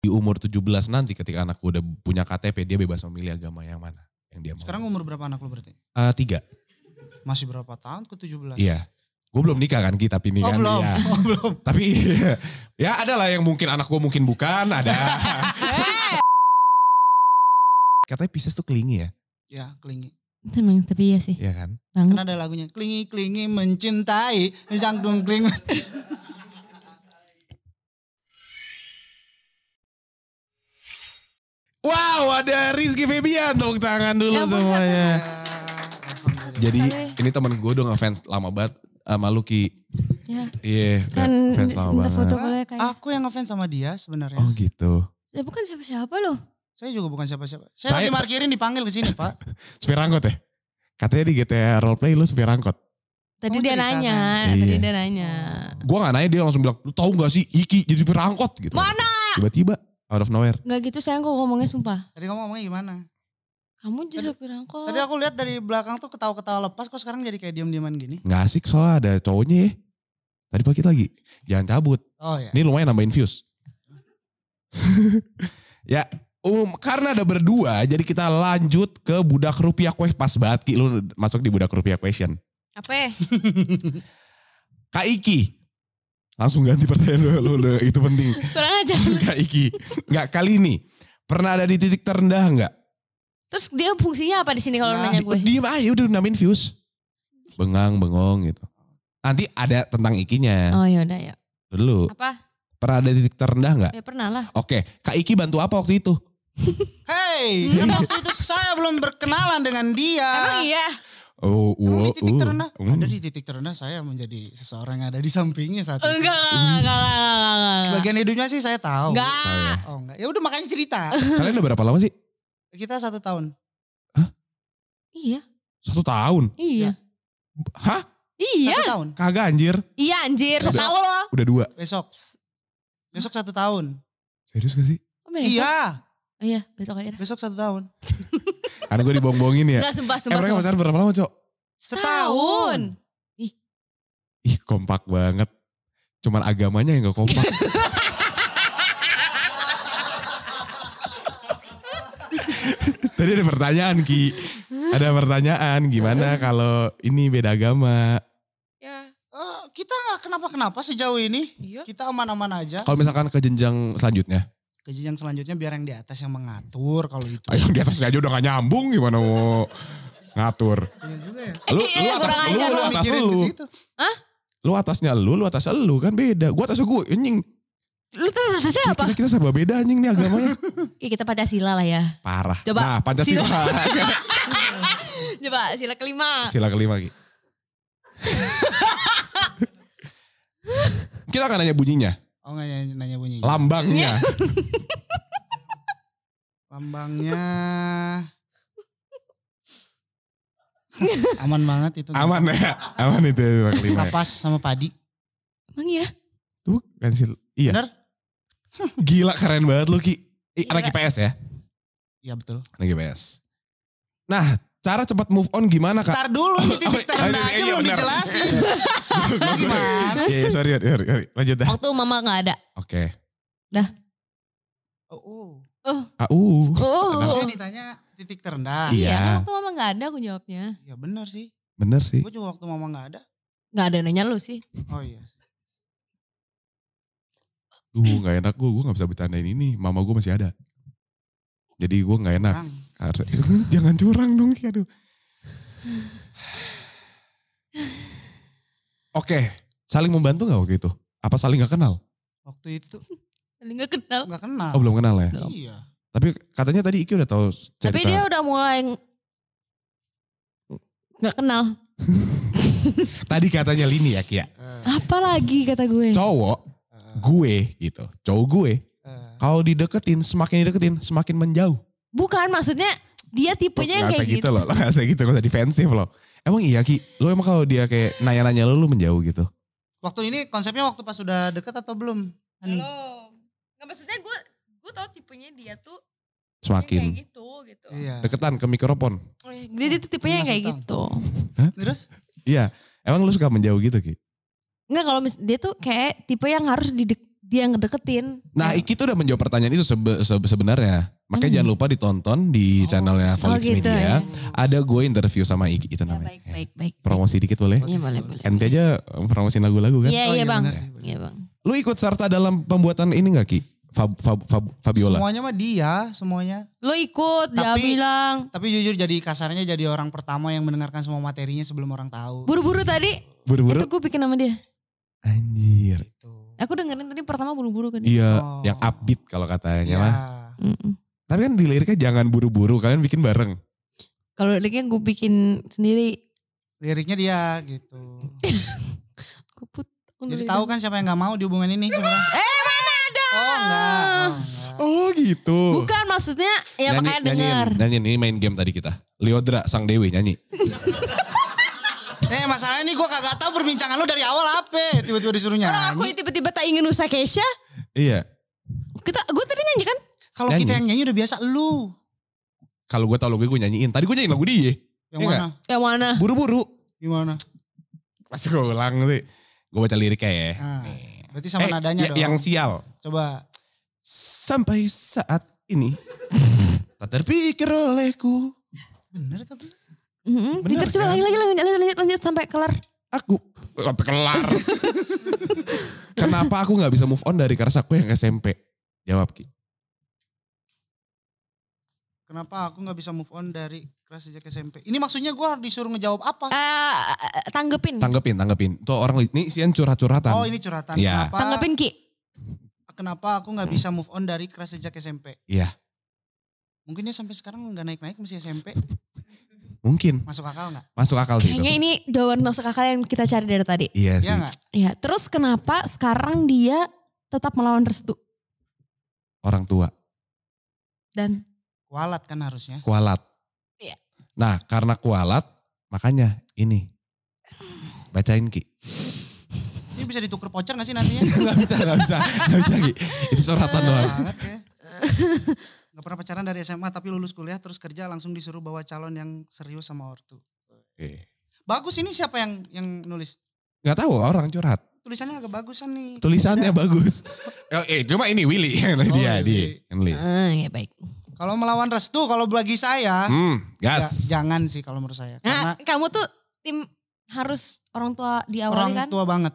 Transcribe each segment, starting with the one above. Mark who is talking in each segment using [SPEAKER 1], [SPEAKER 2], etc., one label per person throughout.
[SPEAKER 1] di umur 17 nanti ketika anakku udah punya KTP dia bebas memilih agama yang mana yang dia mau.
[SPEAKER 2] Sekarang umur berapa anak lo berarti?
[SPEAKER 1] Eh, tiga,
[SPEAKER 2] Masih berapa tahun ke 17?
[SPEAKER 1] iya. Gue belum nikah kan kita ini
[SPEAKER 2] Oh
[SPEAKER 1] kan.
[SPEAKER 2] belum,
[SPEAKER 1] iya.
[SPEAKER 2] oh belum.
[SPEAKER 1] Tapi ya ada lah yang mungkin anak gue mungkin bukan ada. Eh. Katanya Pisces tuh kelingi ya,
[SPEAKER 2] Ya, klingi.
[SPEAKER 3] Emang tapi iya sih.
[SPEAKER 1] iya kan?
[SPEAKER 3] Banget.
[SPEAKER 2] Kan ada lagunya, klingi-klingi mencintai, jangdung kling.
[SPEAKER 1] Wow, ada Rizky Febian tepuk tangan dulu
[SPEAKER 3] Ya ampun,
[SPEAKER 1] semuanya.
[SPEAKER 2] Alhamdulillah.
[SPEAKER 1] Iya. Jadi
[SPEAKER 3] Sekali.
[SPEAKER 1] ini temen gue udah ngefans lama banget sama lu Ki.
[SPEAKER 3] Ya.
[SPEAKER 1] Iya,
[SPEAKER 3] Kan
[SPEAKER 1] fans lama
[SPEAKER 3] minta
[SPEAKER 1] banget.
[SPEAKER 3] foto boleh kayak.
[SPEAKER 2] Aku yang ngefans sama dia sebenarnya.
[SPEAKER 1] Oh gitu.
[SPEAKER 3] Ya bukan siapa-siapa loh.
[SPEAKER 2] Saya juga bukan siapa-siapa. Saya,
[SPEAKER 1] Saya-
[SPEAKER 2] lagi markirin dipanggil ke sini, Pak.
[SPEAKER 1] Supir angkot ya? Katanya di GTA roleplay lu supir angkot.
[SPEAKER 3] Tadi
[SPEAKER 2] Kamu
[SPEAKER 3] dia
[SPEAKER 2] cerita
[SPEAKER 3] nanya,
[SPEAKER 1] sama-
[SPEAKER 3] tadi
[SPEAKER 1] Iya.
[SPEAKER 3] dia nanya.
[SPEAKER 1] Gue gak nanya dia langsung bilang, lu tahu gak sih Iki jadi supir angkot gitu.
[SPEAKER 3] Mana?
[SPEAKER 1] Tiba-tiba out of nowhere.
[SPEAKER 3] Enggak gitu sayang kok ngomongnya sumpah.
[SPEAKER 2] Tadi kamu ngomongnya gimana?
[SPEAKER 3] Kamu jadi supir angkot.
[SPEAKER 2] Tadi aku lihat dari belakang tuh ketawa-ketawa lepas kok sekarang jadi kayak diam-diaman gini.
[SPEAKER 1] Gak asik soalnya ada cowoknya ya. Tadi pagi lagi, jangan cabut.
[SPEAKER 2] Oh
[SPEAKER 3] Hmm.
[SPEAKER 2] ya.
[SPEAKER 1] Ini lumayan nambahin views. ya, um, karena ada berdua jadi kita lanjut ke budak rupiah question. Pas banget Ki, lu masuk di budak rupiah question.
[SPEAKER 3] Apa? ya?
[SPEAKER 1] Kak Iki. Langsung ganti pertanyaan lu, lu, lu itu penting.
[SPEAKER 3] Kurang aja.
[SPEAKER 1] Kak Iki. Nggak kali ini. Pernah ada di titik terendah nggak?
[SPEAKER 3] Terus dia fungsinya apa di sini kalau
[SPEAKER 2] Nah,
[SPEAKER 3] nanya
[SPEAKER 1] Di-
[SPEAKER 3] gue?
[SPEAKER 1] Diem aja udah nambahin views. Bengang, bengong gitu. Nanti ada tentang Ikinya.
[SPEAKER 3] Oh ya udah ya.
[SPEAKER 1] Dulu.
[SPEAKER 3] Apa?
[SPEAKER 1] Pernah ada di titik terendah nggak?
[SPEAKER 3] Ya pernah lah.
[SPEAKER 1] Oke. Kak Iki bantu apa waktu itu?
[SPEAKER 2] Hey, kan waktu itu saya belum berkenalan dengan dia.
[SPEAKER 3] Emang iya.
[SPEAKER 1] Oh,
[SPEAKER 2] Emang
[SPEAKER 1] wow,
[SPEAKER 2] di titik
[SPEAKER 1] uh,
[SPEAKER 2] terendah?
[SPEAKER 1] mm.
[SPEAKER 2] Ada di titik terendah saya menjadi seseorang yang ada di sampingnya saat itu.
[SPEAKER 3] Enggak, enggak, enggak, enggak, enggak, enggak, enggak.
[SPEAKER 2] Sebagian hidupnya sih saya tahu.
[SPEAKER 3] Enggak.
[SPEAKER 2] Oh enggak. Ya udah makanya cerita.
[SPEAKER 1] Ah. Kalian udah berapa lama sih?
[SPEAKER 2] Kita satu tahun.
[SPEAKER 3] Iya,
[SPEAKER 1] Satu tahun.
[SPEAKER 3] iya.
[SPEAKER 1] Hah?
[SPEAKER 3] Iya,
[SPEAKER 2] Satu tahun.
[SPEAKER 1] Kagak anjir.
[SPEAKER 3] iya anjir.
[SPEAKER 1] Udah.
[SPEAKER 3] Tahu lo.
[SPEAKER 1] Udah dua.
[SPEAKER 2] Besok. Besok satu tahun.
[SPEAKER 1] Serius gak sih?
[SPEAKER 3] Besok.
[SPEAKER 2] Iya.
[SPEAKER 3] Oh, Iya, besok aja. dah.
[SPEAKER 2] Besok satu tahun.
[SPEAKER 1] Karena gue dibohong-bohongin ya.
[SPEAKER 3] Enggak, sumpah,
[SPEAKER 1] Eh
[SPEAKER 3] sumpah.
[SPEAKER 1] mereka
[SPEAKER 3] sumpah.
[SPEAKER 1] pacaran berapa lama cok?
[SPEAKER 2] Setahun.
[SPEAKER 1] Ih kompak banget. Cuman agamanya yang gak kompak. Tadi ada pertanyaan Ki. Ada pertanyaan gimana kalau ini beda agama.
[SPEAKER 3] Ya.
[SPEAKER 2] Eh, kita nggak kenapa-kenapa sejauh ini.
[SPEAKER 3] Iya.
[SPEAKER 2] Kita aman-aman aja.
[SPEAKER 1] Kalau misalkan ke jenjang selanjutnya.
[SPEAKER 2] Ke jenjang selanjutnya biar yang di atas yang mengatur kalau itu.
[SPEAKER 1] Ayo di atasnya aja udah gak nyambung gimana mau ngatur.
[SPEAKER 2] Iya juga ya.
[SPEAKER 1] Lu,
[SPEAKER 3] Iya,
[SPEAKER 1] lu atas lu,
[SPEAKER 3] kurang ajar
[SPEAKER 1] lu
[SPEAKER 3] lu
[SPEAKER 1] atas
[SPEAKER 2] Mikirin ke
[SPEAKER 1] lu.
[SPEAKER 2] situ.
[SPEAKER 1] Lu atasnya lu, lu atas lu kan beda. Gua atas gua anjing.
[SPEAKER 3] Lu tuh atasnya apa?
[SPEAKER 1] Kita, kita serba beda anjing nih agamanya.
[SPEAKER 3] Ya kita Pancasila lah ya.
[SPEAKER 1] Parah.
[SPEAKER 3] Coba.
[SPEAKER 1] Nah, Pancasila.
[SPEAKER 3] Coba sila
[SPEAKER 2] Ah.
[SPEAKER 3] kelima.
[SPEAKER 1] Sila kelima Ki. Kita akan nanya bunyinya,
[SPEAKER 2] Oh nggak nanya, nanya bunyinya.
[SPEAKER 1] lambangnya.
[SPEAKER 2] Lambangnya. aman banget itu.
[SPEAKER 1] Aman ya? Aman itu ya, sila kelima. ya.
[SPEAKER 2] Kapas sama padi.
[SPEAKER 3] Emang iya.
[SPEAKER 1] Itu bukan sil- Iya.
[SPEAKER 2] Bener?
[SPEAKER 1] Gila keren banget lu Ki. Ih,
[SPEAKER 3] Gila.
[SPEAKER 1] anak IPS ya?
[SPEAKER 2] Iya betul.
[SPEAKER 1] Anak IPS. Nah, cara cepat move on gimana Kak?
[SPEAKER 2] Ntar dulu ini titik
[SPEAKER 1] Oh,
[SPEAKER 2] terendah
[SPEAKER 1] iya,
[SPEAKER 2] aja
[SPEAKER 1] iya,
[SPEAKER 2] belum
[SPEAKER 1] benar.
[SPEAKER 2] dijelasin. Gimana?
[SPEAKER 1] Iya, iya, sorry, sorry, sorry. Lanjut dah. Oke.
[SPEAKER 3] Waktu mama gak ada.
[SPEAKER 2] Oh, oh.
[SPEAKER 1] Au.
[SPEAKER 3] Oh.
[SPEAKER 2] Saya ditanya titik terendah.
[SPEAKER 1] Iya.
[SPEAKER 3] Iya, waktu mama gak ada aku jawabnya.
[SPEAKER 2] Ya benar sih.
[SPEAKER 1] Bener sih.
[SPEAKER 2] Gue juga waktu mama nggak ada.
[SPEAKER 3] Gak ada yang nanya lu sih.
[SPEAKER 2] Oh iya.
[SPEAKER 1] Duh, gak enak gue. Gue gak bisa bercandain ini. Mama gue masih ada. Jadi gue gak enak.
[SPEAKER 2] Bang,
[SPEAKER 1] Har- Jangan curang dong Ki. Aduh. Oke. Saling membantu gak waktu itu? Apa saling gak kenal?
[SPEAKER 2] waktu itu tuh
[SPEAKER 3] Paling gak kenal.
[SPEAKER 2] nggak kenal.
[SPEAKER 1] Oh belum kenal ya?
[SPEAKER 3] Belum.
[SPEAKER 2] Iya.
[SPEAKER 1] Tapi katanya tadi Iki udah tahu cerita.
[SPEAKER 3] Tapi dia udah mulai nggak kenal.
[SPEAKER 1] Tadi katanya Lini ya Kia.
[SPEAKER 2] Eh,
[SPEAKER 3] Apa lagi kata gue?
[SPEAKER 1] Cowok
[SPEAKER 2] eh,
[SPEAKER 1] gue gitu. Cowok gue.
[SPEAKER 2] eh.
[SPEAKER 1] Kalau dideketin semakin dideketin semakin menjauh.
[SPEAKER 3] Bukan maksudnya dia tipenya yang
[SPEAKER 1] Nggak
[SPEAKER 3] kayak
[SPEAKER 1] usah
[SPEAKER 3] gitu.
[SPEAKER 1] loh. Lo gak usah gitu. Gak usah defensif loh. Emang iya Ki. Lo emang kalau dia kayak nanya-nanya lo lo menjauh gitu.
[SPEAKER 2] Waktu ini konsepnya waktu pas sudah deket atau belum? Hani?
[SPEAKER 4] Belum.
[SPEAKER 3] Hmm.
[SPEAKER 4] Nggak maksudnya gue gue tau tipenya dia tuh yang kayak
[SPEAKER 1] Semakin.
[SPEAKER 4] gitu gitu.
[SPEAKER 2] Iya.
[SPEAKER 1] Deketan ke mikrofon.
[SPEAKER 4] Oh, ya,
[SPEAKER 3] iya, Dia dia tuh tipenya yang kayak
[SPEAKER 2] Nggak
[SPEAKER 3] gitu.
[SPEAKER 2] Terus?
[SPEAKER 1] Iya. Emang lo suka menjauh gitu Ki?
[SPEAKER 3] Enggak kalau mis- dia tuh kayak tipe yang harus didek- dia ngedeketin. Iya,
[SPEAKER 1] Nah, Iki tuh udah menjawab pertanyaan itu sebe- sebe- sebenarnya. Makanya jangan lupa ditonton di channelnya
[SPEAKER 3] Hmm. Oh,
[SPEAKER 1] Felix
[SPEAKER 3] gitu
[SPEAKER 2] Iya.
[SPEAKER 3] ya.
[SPEAKER 1] Media. Ada gue interview sama Iki itu
[SPEAKER 3] Ya,
[SPEAKER 1] namanya. Eh,
[SPEAKER 3] baik, baik, baik.
[SPEAKER 1] Promosi dikit boleh?
[SPEAKER 3] Iya boleh, boleh.
[SPEAKER 1] Nanti aja promosiin lagu-lagu kan.
[SPEAKER 3] Iya,
[SPEAKER 2] Oh, iya,
[SPEAKER 3] iya bang.
[SPEAKER 2] benar sih, benar.
[SPEAKER 3] Iya bang.
[SPEAKER 1] Lu ikut serta dalam pembuatan ini gak Ki? Fab, Fab- Fab- Fabiola.
[SPEAKER 2] Semuanya mah dia, semuanya.
[SPEAKER 3] Lo ikut, dia
[SPEAKER 2] Tapi-
[SPEAKER 3] bilang.
[SPEAKER 2] Tapi jujur jadi kasarnya jadi orang pertama yang mendengarkan semua materinya sebelum orang tahu.
[SPEAKER 3] Buru-buru tadi,
[SPEAKER 1] Buru-buru.
[SPEAKER 3] itu gue bikin sama dia.
[SPEAKER 1] Anjir.
[SPEAKER 2] Gitu.
[SPEAKER 3] Aku dengerin tadi pertama buru-buru kan.
[SPEAKER 1] Iya,
[SPEAKER 2] Oh.
[SPEAKER 1] yang upbeat kalau
[SPEAKER 3] Iya.
[SPEAKER 1] katanya
[SPEAKER 2] Ya.
[SPEAKER 1] mah.
[SPEAKER 3] Mm-mm.
[SPEAKER 1] Tapi kan di liriknya jangan buru-buru, kalian bikin bareng.
[SPEAKER 3] Kalau liriknya gue bikin sendiri,
[SPEAKER 2] Liriknya dia gitu.
[SPEAKER 3] gue put.
[SPEAKER 2] Jadi tahu kan siapa yang nggak mau di hubungan ini sebenarnya.
[SPEAKER 3] Eh mana ada?
[SPEAKER 2] Oh enggak. Oh, enggak.
[SPEAKER 1] Oh gitu.
[SPEAKER 3] Bukan maksudnya,
[SPEAKER 1] nyanyi,
[SPEAKER 3] ya makanya
[SPEAKER 1] nyanyiin,
[SPEAKER 3] denger.
[SPEAKER 1] nyanyiin. ini main game tadi kita. Leodra, Sang Dewi nyanyi.
[SPEAKER 2] Eh masalahnya ini gue kagak tahu perbincangan lu dari awal apa. Tiba-tiba disuruh
[SPEAKER 3] Aku
[SPEAKER 2] nyanyi.
[SPEAKER 3] tiba-tiba tak ingin usah Kesha.
[SPEAKER 1] Iya.
[SPEAKER 3] Kita, gue tadi nyanyi kan?
[SPEAKER 2] Kalau
[SPEAKER 1] Nyanyi.
[SPEAKER 2] kita yang nyanyi udah biasa lu.
[SPEAKER 1] Kalau gue tau lagu gue nyanyiin. Tadi gue nyanyiin lagu dia.
[SPEAKER 2] Yang
[SPEAKER 1] Iya
[SPEAKER 2] mana?
[SPEAKER 3] Yang mana?
[SPEAKER 1] Buru-buru.
[SPEAKER 2] Gimana?
[SPEAKER 1] Pas gue ulang sih. Gue baca liriknya ya.
[SPEAKER 2] Nah, berarti sama
[SPEAKER 1] Eh,
[SPEAKER 2] nadanya
[SPEAKER 1] ya-
[SPEAKER 2] dong.
[SPEAKER 1] Yang sial.
[SPEAKER 2] Coba.
[SPEAKER 1] Sampai saat ini. tak terpikir olehku.
[SPEAKER 2] Bener tapi.
[SPEAKER 3] Mm-mm.
[SPEAKER 1] Bener
[SPEAKER 3] Diter,
[SPEAKER 1] kan?
[SPEAKER 3] coba lagi lagi lanjut lanjut lanjut, lanjut sampai kelar.
[SPEAKER 1] Aku. Sampai kelar. Kenapa aku gak bisa move on dari keras aku yang SMP? Jawab Ki.
[SPEAKER 2] Kenapa aku nggak bisa move on dari kelas sejak SMP? Ini maksudnya gue disuruh ngejawab apa?
[SPEAKER 3] Eh tanggepin.
[SPEAKER 1] Tanggepin, tanggepin. Tuh orang li- ini isian curhat-curhatan.
[SPEAKER 2] Hmm. Oh ini curhatan.
[SPEAKER 1] Iya.
[SPEAKER 2] Kenapa?
[SPEAKER 3] tanggepin Ki.
[SPEAKER 2] Kenapa aku nggak bisa move on dari kelas sejak SMP?
[SPEAKER 1] Iya.
[SPEAKER 2] Mungkin dia sampai sekarang nggak naik-naik masih SMP.
[SPEAKER 1] Mungkin.
[SPEAKER 2] Masuk akal nggak?
[SPEAKER 1] Masuk akal sih
[SPEAKER 3] Kayaknya
[SPEAKER 1] itu.
[SPEAKER 3] ini jawaban masuk akal yang kita cari dari tadi.
[SPEAKER 1] Iya sih.
[SPEAKER 2] Iya nggak?
[SPEAKER 3] Ya, terus kenapa sekarang dia tetap melawan restu
[SPEAKER 1] Orang tua.
[SPEAKER 3] dan
[SPEAKER 2] Kualat kan harusnya.
[SPEAKER 1] Kualat.
[SPEAKER 3] Iya.
[SPEAKER 1] Nah karena kualat. Makanya ini. Bacain Ki.
[SPEAKER 2] Ini bisa ditukar voucher nggak sih nantinya?
[SPEAKER 1] Gak bisa, gak bisa. Gak bisa Ki. Itu suratan doang.
[SPEAKER 2] Banget ya. Gak pernah pacaran dari SMA tapi lulus kuliah terus kerja langsung disuruh bawa calon yang serius sama ortu. Bagus ini siapa yang yang nulis?
[SPEAKER 1] Gak tahu orang curhat.
[SPEAKER 2] Tulisannya agak bagusan nih.
[SPEAKER 1] Tulisannya bagus. Eh, eh, cuma ini Willy. dia,
[SPEAKER 2] Willy.
[SPEAKER 1] dia. Willy.
[SPEAKER 3] Ah, ya baik.
[SPEAKER 2] Kalau melawan restu kalau bagi saya
[SPEAKER 1] Hmm,
[SPEAKER 2] ya,
[SPEAKER 1] gas.
[SPEAKER 2] jangan sih kalau menurut saya. Karena
[SPEAKER 3] Nah, kamu tuh tim harus orang tua
[SPEAKER 2] orang
[SPEAKER 3] diawali kan?
[SPEAKER 2] tua banget.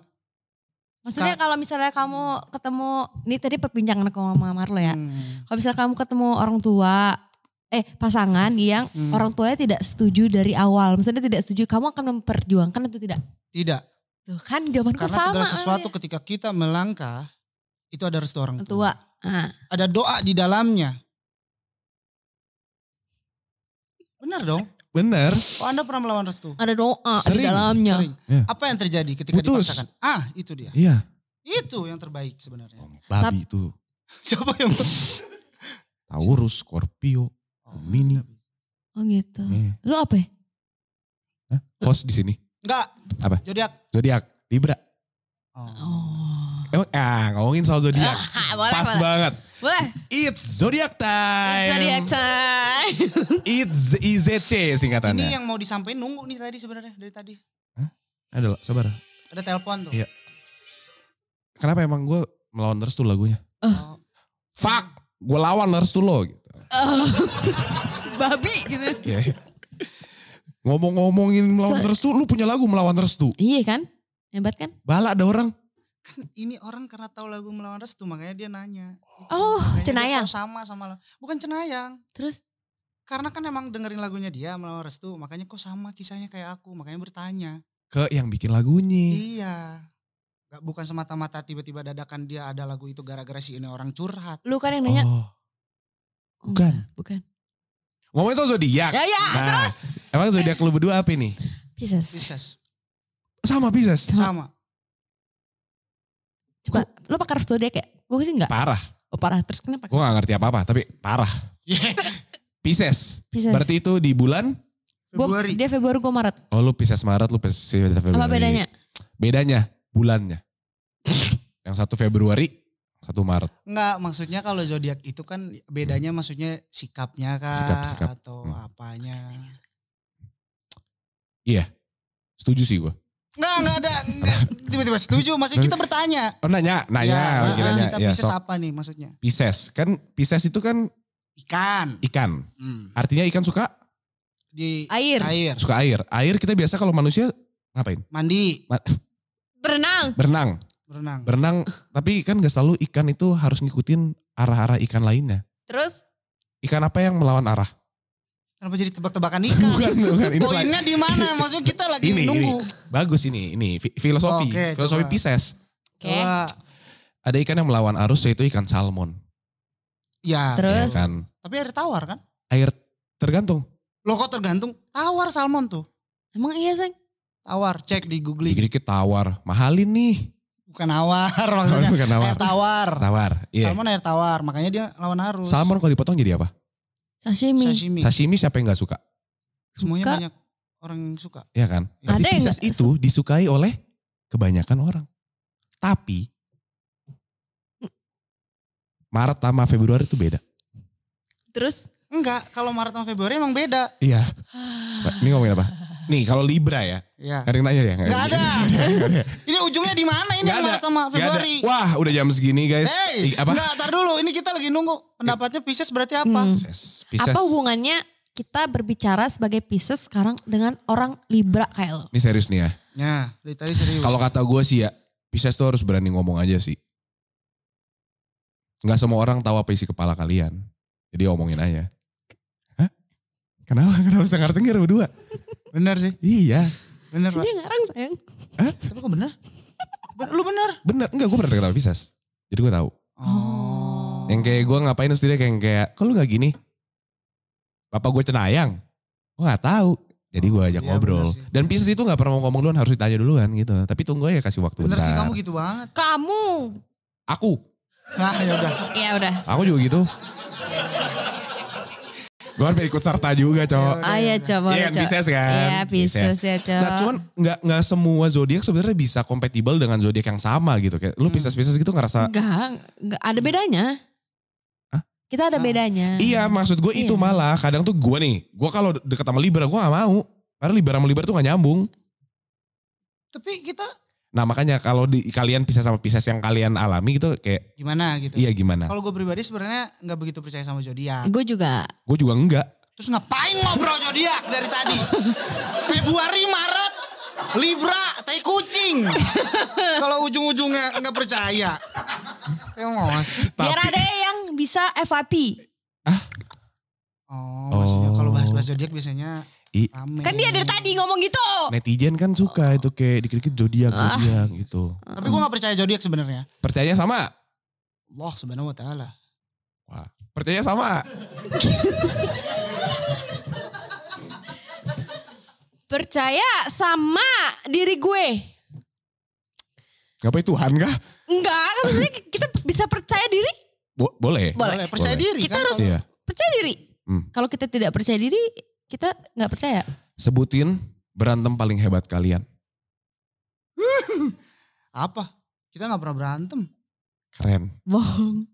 [SPEAKER 3] Maksudnya kalau misalnya kamu ketemu ini tadi perbincangan aku sama Marlo ya.
[SPEAKER 2] Hmm.
[SPEAKER 3] Kalau misalnya kamu ketemu orang tua eh pasangan yang
[SPEAKER 2] Hmm.
[SPEAKER 3] orang tuanya tidak setuju dari awal, maksudnya tidak setuju, kamu akan memperjuangkan atau tidak?
[SPEAKER 2] Tidak,
[SPEAKER 3] Tuh kan jawabanku
[SPEAKER 2] karena
[SPEAKER 3] sama. iya.
[SPEAKER 2] segala sesuatu ketika kita melangkah itu ada restu orang
[SPEAKER 3] orang
[SPEAKER 2] tua.
[SPEAKER 3] tua. Ah,
[SPEAKER 2] Ada doa di dalamnya. Benar dong.
[SPEAKER 1] Bener.
[SPEAKER 2] Oh, Anda pernah melawan restu?
[SPEAKER 3] ada doa di
[SPEAKER 1] Sering,
[SPEAKER 3] dalamnya.
[SPEAKER 2] Sering.
[SPEAKER 1] Ya.
[SPEAKER 2] Apa yang terjadi ketika
[SPEAKER 1] Putus.
[SPEAKER 2] dipaksakan? Ah, itu dia.
[SPEAKER 1] Iya.
[SPEAKER 2] Itu yang terbaik
[SPEAKER 1] Oh.
[SPEAKER 2] sebenarnya.
[SPEAKER 1] Babi itu.
[SPEAKER 2] Siapa yang
[SPEAKER 1] Taurus, Scorpio, Gemini.
[SPEAKER 3] Oh gitu.
[SPEAKER 1] Eh,
[SPEAKER 3] Lu apa? ya?
[SPEAKER 1] Host di sini.
[SPEAKER 2] Enggak.
[SPEAKER 1] Apa?
[SPEAKER 2] Zodiak.
[SPEAKER 1] Zodiak, Libra.
[SPEAKER 2] Oh.
[SPEAKER 3] Oh.
[SPEAKER 1] Emang ah, ngomongin soal zodiak.
[SPEAKER 3] boleh,
[SPEAKER 1] Pas
[SPEAKER 3] boleh.
[SPEAKER 1] banget.
[SPEAKER 3] Boleh.
[SPEAKER 1] It's zodiak time.
[SPEAKER 3] Zodiac time.
[SPEAKER 1] It's IZC singkatannya.
[SPEAKER 2] Ini yang mau disampaikan nunggu nih tadi sebenarnya dari tadi.
[SPEAKER 1] Ada lah, sabar.
[SPEAKER 2] Ada telepon tuh.
[SPEAKER 1] Iya. Kenapa emang gue melawan terus tuh lagunya?
[SPEAKER 2] Oh.
[SPEAKER 1] Fuck, gue lawan terus tuh lo. Gitu.
[SPEAKER 3] Oh. Babi gitu.
[SPEAKER 1] Iya. Ngomong-ngomongin melawan
[SPEAKER 3] So-
[SPEAKER 1] terus tuh, lu punya lagu melawan terus tuh.
[SPEAKER 3] Iya kan? Hebat kan?
[SPEAKER 1] Bala ada orang.
[SPEAKER 2] Ini orang karena tahu lagu melawan restu makanya dia nanya.
[SPEAKER 3] Oh,
[SPEAKER 2] Makanya dia
[SPEAKER 3] Cenayang.
[SPEAKER 2] tahu sama sama lo. Bukan cenayang.
[SPEAKER 3] Terus
[SPEAKER 2] Karena kan emang dengerin lagunya dia melawan restu, makanya kok sama kisahnya kayak aku, makanya bertanya.
[SPEAKER 1] Ke yang bikin lagunya.
[SPEAKER 2] Iya. Gak, bukan semata-mata tiba-tiba dadakan dia ada lagu itu gara-gara si ini orang curhat.
[SPEAKER 3] lu kan yang nanya.
[SPEAKER 1] Oh.
[SPEAKER 3] Oh,
[SPEAKER 1] bukan.
[SPEAKER 3] enggak, Bukan.
[SPEAKER 1] Ngomongin soal zodiak.
[SPEAKER 3] Ya ya
[SPEAKER 1] Nah,
[SPEAKER 3] terus.
[SPEAKER 1] Emang zodiak lu berdua apa nih?
[SPEAKER 3] Pisces.
[SPEAKER 2] Pisces.
[SPEAKER 1] Sama Pisces.
[SPEAKER 2] Sama.
[SPEAKER 3] Coba lu pakar zodiak ya? Gue sih enggak.
[SPEAKER 1] Parah.
[SPEAKER 3] Oh, parah. Terus kenapa?
[SPEAKER 1] Gue gak ngerti apa-apa, tapi parah.
[SPEAKER 2] Iya.
[SPEAKER 1] Pisces.
[SPEAKER 3] Pisces.
[SPEAKER 1] Berarti itu di bulan
[SPEAKER 3] Gua-
[SPEAKER 2] Februari.
[SPEAKER 3] dia Februari gue Maret.
[SPEAKER 1] Oh lu Pisces Maret, lu Pisces Februari.
[SPEAKER 3] Apa bedanya?
[SPEAKER 1] Bedanya, bulannya. yang satu Februari, satu Maret.
[SPEAKER 2] Enggak, maksudnya kalau zodiak itu kan bedanya maksudnya sikapnya kah
[SPEAKER 1] Sikap-sikap.
[SPEAKER 2] atau
[SPEAKER 1] Hmm.
[SPEAKER 2] apanya.
[SPEAKER 1] Setuju sih gue.
[SPEAKER 2] Enggak, enggak ada. Nggak. Tiba-tiba setuju. Maksudnya kita bertanya.
[SPEAKER 1] Oh nanya, nanya, lagi
[SPEAKER 2] ah,
[SPEAKER 1] nanya.
[SPEAKER 2] kita
[SPEAKER 1] ya,
[SPEAKER 2] Pisces
[SPEAKER 1] sok.
[SPEAKER 2] apa nih maksudnya?
[SPEAKER 1] Pisces. Kan Pisces itu kan
[SPEAKER 2] Ikan.
[SPEAKER 1] ikan.
[SPEAKER 2] Hmm.
[SPEAKER 1] Artinya ikan suka
[SPEAKER 2] Di
[SPEAKER 3] Air.
[SPEAKER 2] air.
[SPEAKER 1] suka air. Air kita biasa kalau manusia ngapain?
[SPEAKER 2] Mandi,
[SPEAKER 1] Ma-
[SPEAKER 4] Berenang.
[SPEAKER 1] Berenang.
[SPEAKER 2] berenang.
[SPEAKER 1] Berenang. Tapi kan gak selalu ikan itu harus ngikutin arah-arah ikan lainnya.
[SPEAKER 4] Terus
[SPEAKER 1] Ikan apa yang melawan arah?
[SPEAKER 2] Kenapa jadi tebak-tebakan ikan?
[SPEAKER 1] Bukan, bukan. Ini lain.
[SPEAKER 2] Poinnya di mana? Maksudnya kita lagi
[SPEAKER 1] Ini,
[SPEAKER 2] nunggu.
[SPEAKER 1] Bagus ini, ini fi- filosofi.
[SPEAKER 2] Oke,
[SPEAKER 1] filosofi
[SPEAKER 2] coba.
[SPEAKER 1] Pisces.
[SPEAKER 3] Oke.
[SPEAKER 2] Coba.
[SPEAKER 1] Ada ikan yang melawan arus yaitu ikan salmon.
[SPEAKER 2] Ya.
[SPEAKER 3] Terus?
[SPEAKER 1] Ikan
[SPEAKER 2] Tapi air tawar kan?
[SPEAKER 1] air tergantung.
[SPEAKER 2] Loh kok tergantung? Tawar salmon tuh.
[SPEAKER 3] Emang iya Seng?
[SPEAKER 2] Tawar. Cek di googling.
[SPEAKER 1] Dikit-dikit tawar, mahalin nih.
[SPEAKER 2] Bukan awar maksudnya.
[SPEAKER 1] Bukan tawar.
[SPEAKER 2] Air tawar.
[SPEAKER 1] Tawar. Iya.
[SPEAKER 2] Salmon air tawar. Makanya dia lawan arus.
[SPEAKER 1] Salmon kalau dipotong jadi apa?
[SPEAKER 3] Sashimi.
[SPEAKER 2] Sashimi.
[SPEAKER 1] Sashimi siapa yang gak suka?
[SPEAKER 2] Semuanya
[SPEAKER 3] Suka.
[SPEAKER 2] banyak orang yang suka.
[SPEAKER 1] Ya kan?
[SPEAKER 3] Ada
[SPEAKER 1] Berarti
[SPEAKER 3] yang
[SPEAKER 1] Pisces
[SPEAKER 3] nggak
[SPEAKER 1] itu disukai oleh kebanyakan orang. Tapi Maret sama Februari itu beda.
[SPEAKER 3] Terus?
[SPEAKER 2] Enggak, kalau Maret sama Februari emang beda.
[SPEAKER 1] Iya. Ini ngomongin apa? Nih kalau Libra ya.
[SPEAKER 2] Ya.
[SPEAKER 1] Gak ada yang nanya ya?
[SPEAKER 2] Enggak ada. ini ujungnya di mana ini
[SPEAKER 1] Nggak ada.
[SPEAKER 2] Maret sama
[SPEAKER 1] Gak ada.
[SPEAKER 2] Februari?
[SPEAKER 1] Wah udah jam segini guys.
[SPEAKER 3] Eh,
[SPEAKER 2] Hey,
[SPEAKER 1] I- apa?
[SPEAKER 2] enggak, tar dulu. Ini kita lagi nunggu. Pendapatnya Pisces berarti apa?
[SPEAKER 3] Hmm.
[SPEAKER 1] Pisces. Pisces.
[SPEAKER 3] Apa hubungannya kita berbicara sebagai Pisces sekarang dengan orang Libra kayak lo?
[SPEAKER 1] Ini serius nih ya.
[SPEAKER 3] Hmm.
[SPEAKER 2] Ya, dari tadi serius.
[SPEAKER 1] Kalau kata gue sih ya, Pisces tuh harus berani ngomong aja sih. Nggak semua orang tahu apa isi kepala kalian. Jadi omongin aja. Hah? Kenapa? Kenapa setengah tengir berdua?
[SPEAKER 2] bener sih,
[SPEAKER 1] Iya.
[SPEAKER 2] bener Pak.
[SPEAKER 3] Dia ngarang sayang.
[SPEAKER 2] Tapi kok bener? Ben- Lu bener?
[SPEAKER 1] Bener. Enggak, gue pernah deket sama Pisces. Jadi gue tahu.
[SPEAKER 3] Oh.
[SPEAKER 1] Yang kayak gue ngapain terus dia kayak, kayak kok lu gak gini? Bapak gue cenayang. Gue gak tahu. Jadi gue ajak
[SPEAKER 2] Iya,
[SPEAKER 1] ngobrol.
[SPEAKER 2] bener sih.
[SPEAKER 1] Dan Pisces itu gak pernah mau ngomong duluan, harus ditanya duluan gitu. Tapi tunggu aja kasih waktu
[SPEAKER 2] Bener sih
[SPEAKER 1] bentar.
[SPEAKER 2] kamu gitu banget.
[SPEAKER 3] Kamu.
[SPEAKER 1] Aku.
[SPEAKER 2] Nah, ya udah.
[SPEAKER 3] Ya udah.
[SPEAKER 1] Aku juga gitu. gue hampir ikut serta
[SPEAKER 2] Ya
[SPEAKER 1] juga, cowok.
[SPEAKER 3] Ayo Ah, coba.
[SPEAKER 1] Iya
[SPEAKER 3] boleh,
[SPEAKER 1] kan,
[SPEAKER 3] Cok.
[SPEAKER 1] Pisces kan?
[SPEAKER 3] Iya Pisces ya coba.
[SPEAKER 1] Nah, cuman nggak nggak semua zodiak sebenarnya bisa kompatibel dengan zodiak yang sama gitu. Kayak
[SPEAKER 2] Hmm.
[SPEAKER 1] lu Pisces-Pisces gitu ngerasa
[SPEAKER 3] Enggak, enggak ada bedanya. Kita ada
[SPEAKER 2] Ah.
[SPEAKER 3] bedanya.
[SPEAKER 1] Hmm. Iya maksud gue itu
[SPEAKER 3] Iya.
[SPEAKER 1] malah kadang tuh gue nih, gue kalau deket sama Libra gue gak mau. Karena Libra sama Libra tuh gak nyambung.
[SPEAKER 2] Tapi kita
[SPEAKER 1] Nah makanya kalau di kalian pisah sama pisah yang kalian alami gitu kayak
[SPEAKER 2] gimana gitu.
[SPEAKER 1] iya gimana.
[SPEAKER 2] Kalau gue pribadi sebenarnya nggak begitu percaya sama zodiak.
[SPEAKER 3] Gue juga.
[SPEAKER 1] Gue juga enggak.
[SPEAKER 2] Terus ngapain ngobrol zodiak dari tadi? Februari, Maret, Libra, tai kucing. Kalau ujung-ujungnya nggak percaya. Emosi.
[SPEAKER 3] Biar ada yang bisa FYP.
[SPEAKER 2] Oh, maksudnya kalau bahas-bahas zodiak biasanya
[SPEAKER 1] I-
[SPEAKER 2] rame.
[SPEAKER 3] Kan dia dari tadi ngomong gitu.
[SPEAKER 1] Netizen kan suka itu kayak dikit-dikit zodiak zodiak gitu.
[SPEAKER 2] Tapi gue nggak percaya zodiak sebenarnya.
[SPEAKER 1] Percaya sama?
[SPEAKER 2] Allah subhanahu wa taala.
[SPEAKER 1] Wah, percaya sama?
[SPEAKER 3] Percaya sama diri gue.
[SPEAKER 1] Ngapain Tuhan kah?
[SPEAKER 3] Enggak, kan maksudnya kita bisa percaya diri.
[SPEAKER 1] Bo- boleh.
[SPEAKER 2] Boleh, percaya
[SPEAKER 1] Boleh.
[SPEAKER 2] diri
[SPEAKER 3] Kita
[SPEAKER 2] kan.
[SPEAKER 3] harus
[SPEAKER 1] Iya.
[SPEAKER 3] percaya diri.
[SPEAKER 1] Hmm.
[SPEAKER 3] Kalau kita tidak percaya diri, kita nggak percaya.
[SPEAKER 1] Sebutin berantem paling hebat kalian.
[SPEAKER 2] apa? Kita nggak pernah berantem.
[SPEAKER 1] Keren.
[SPEAKER 3] Bohong.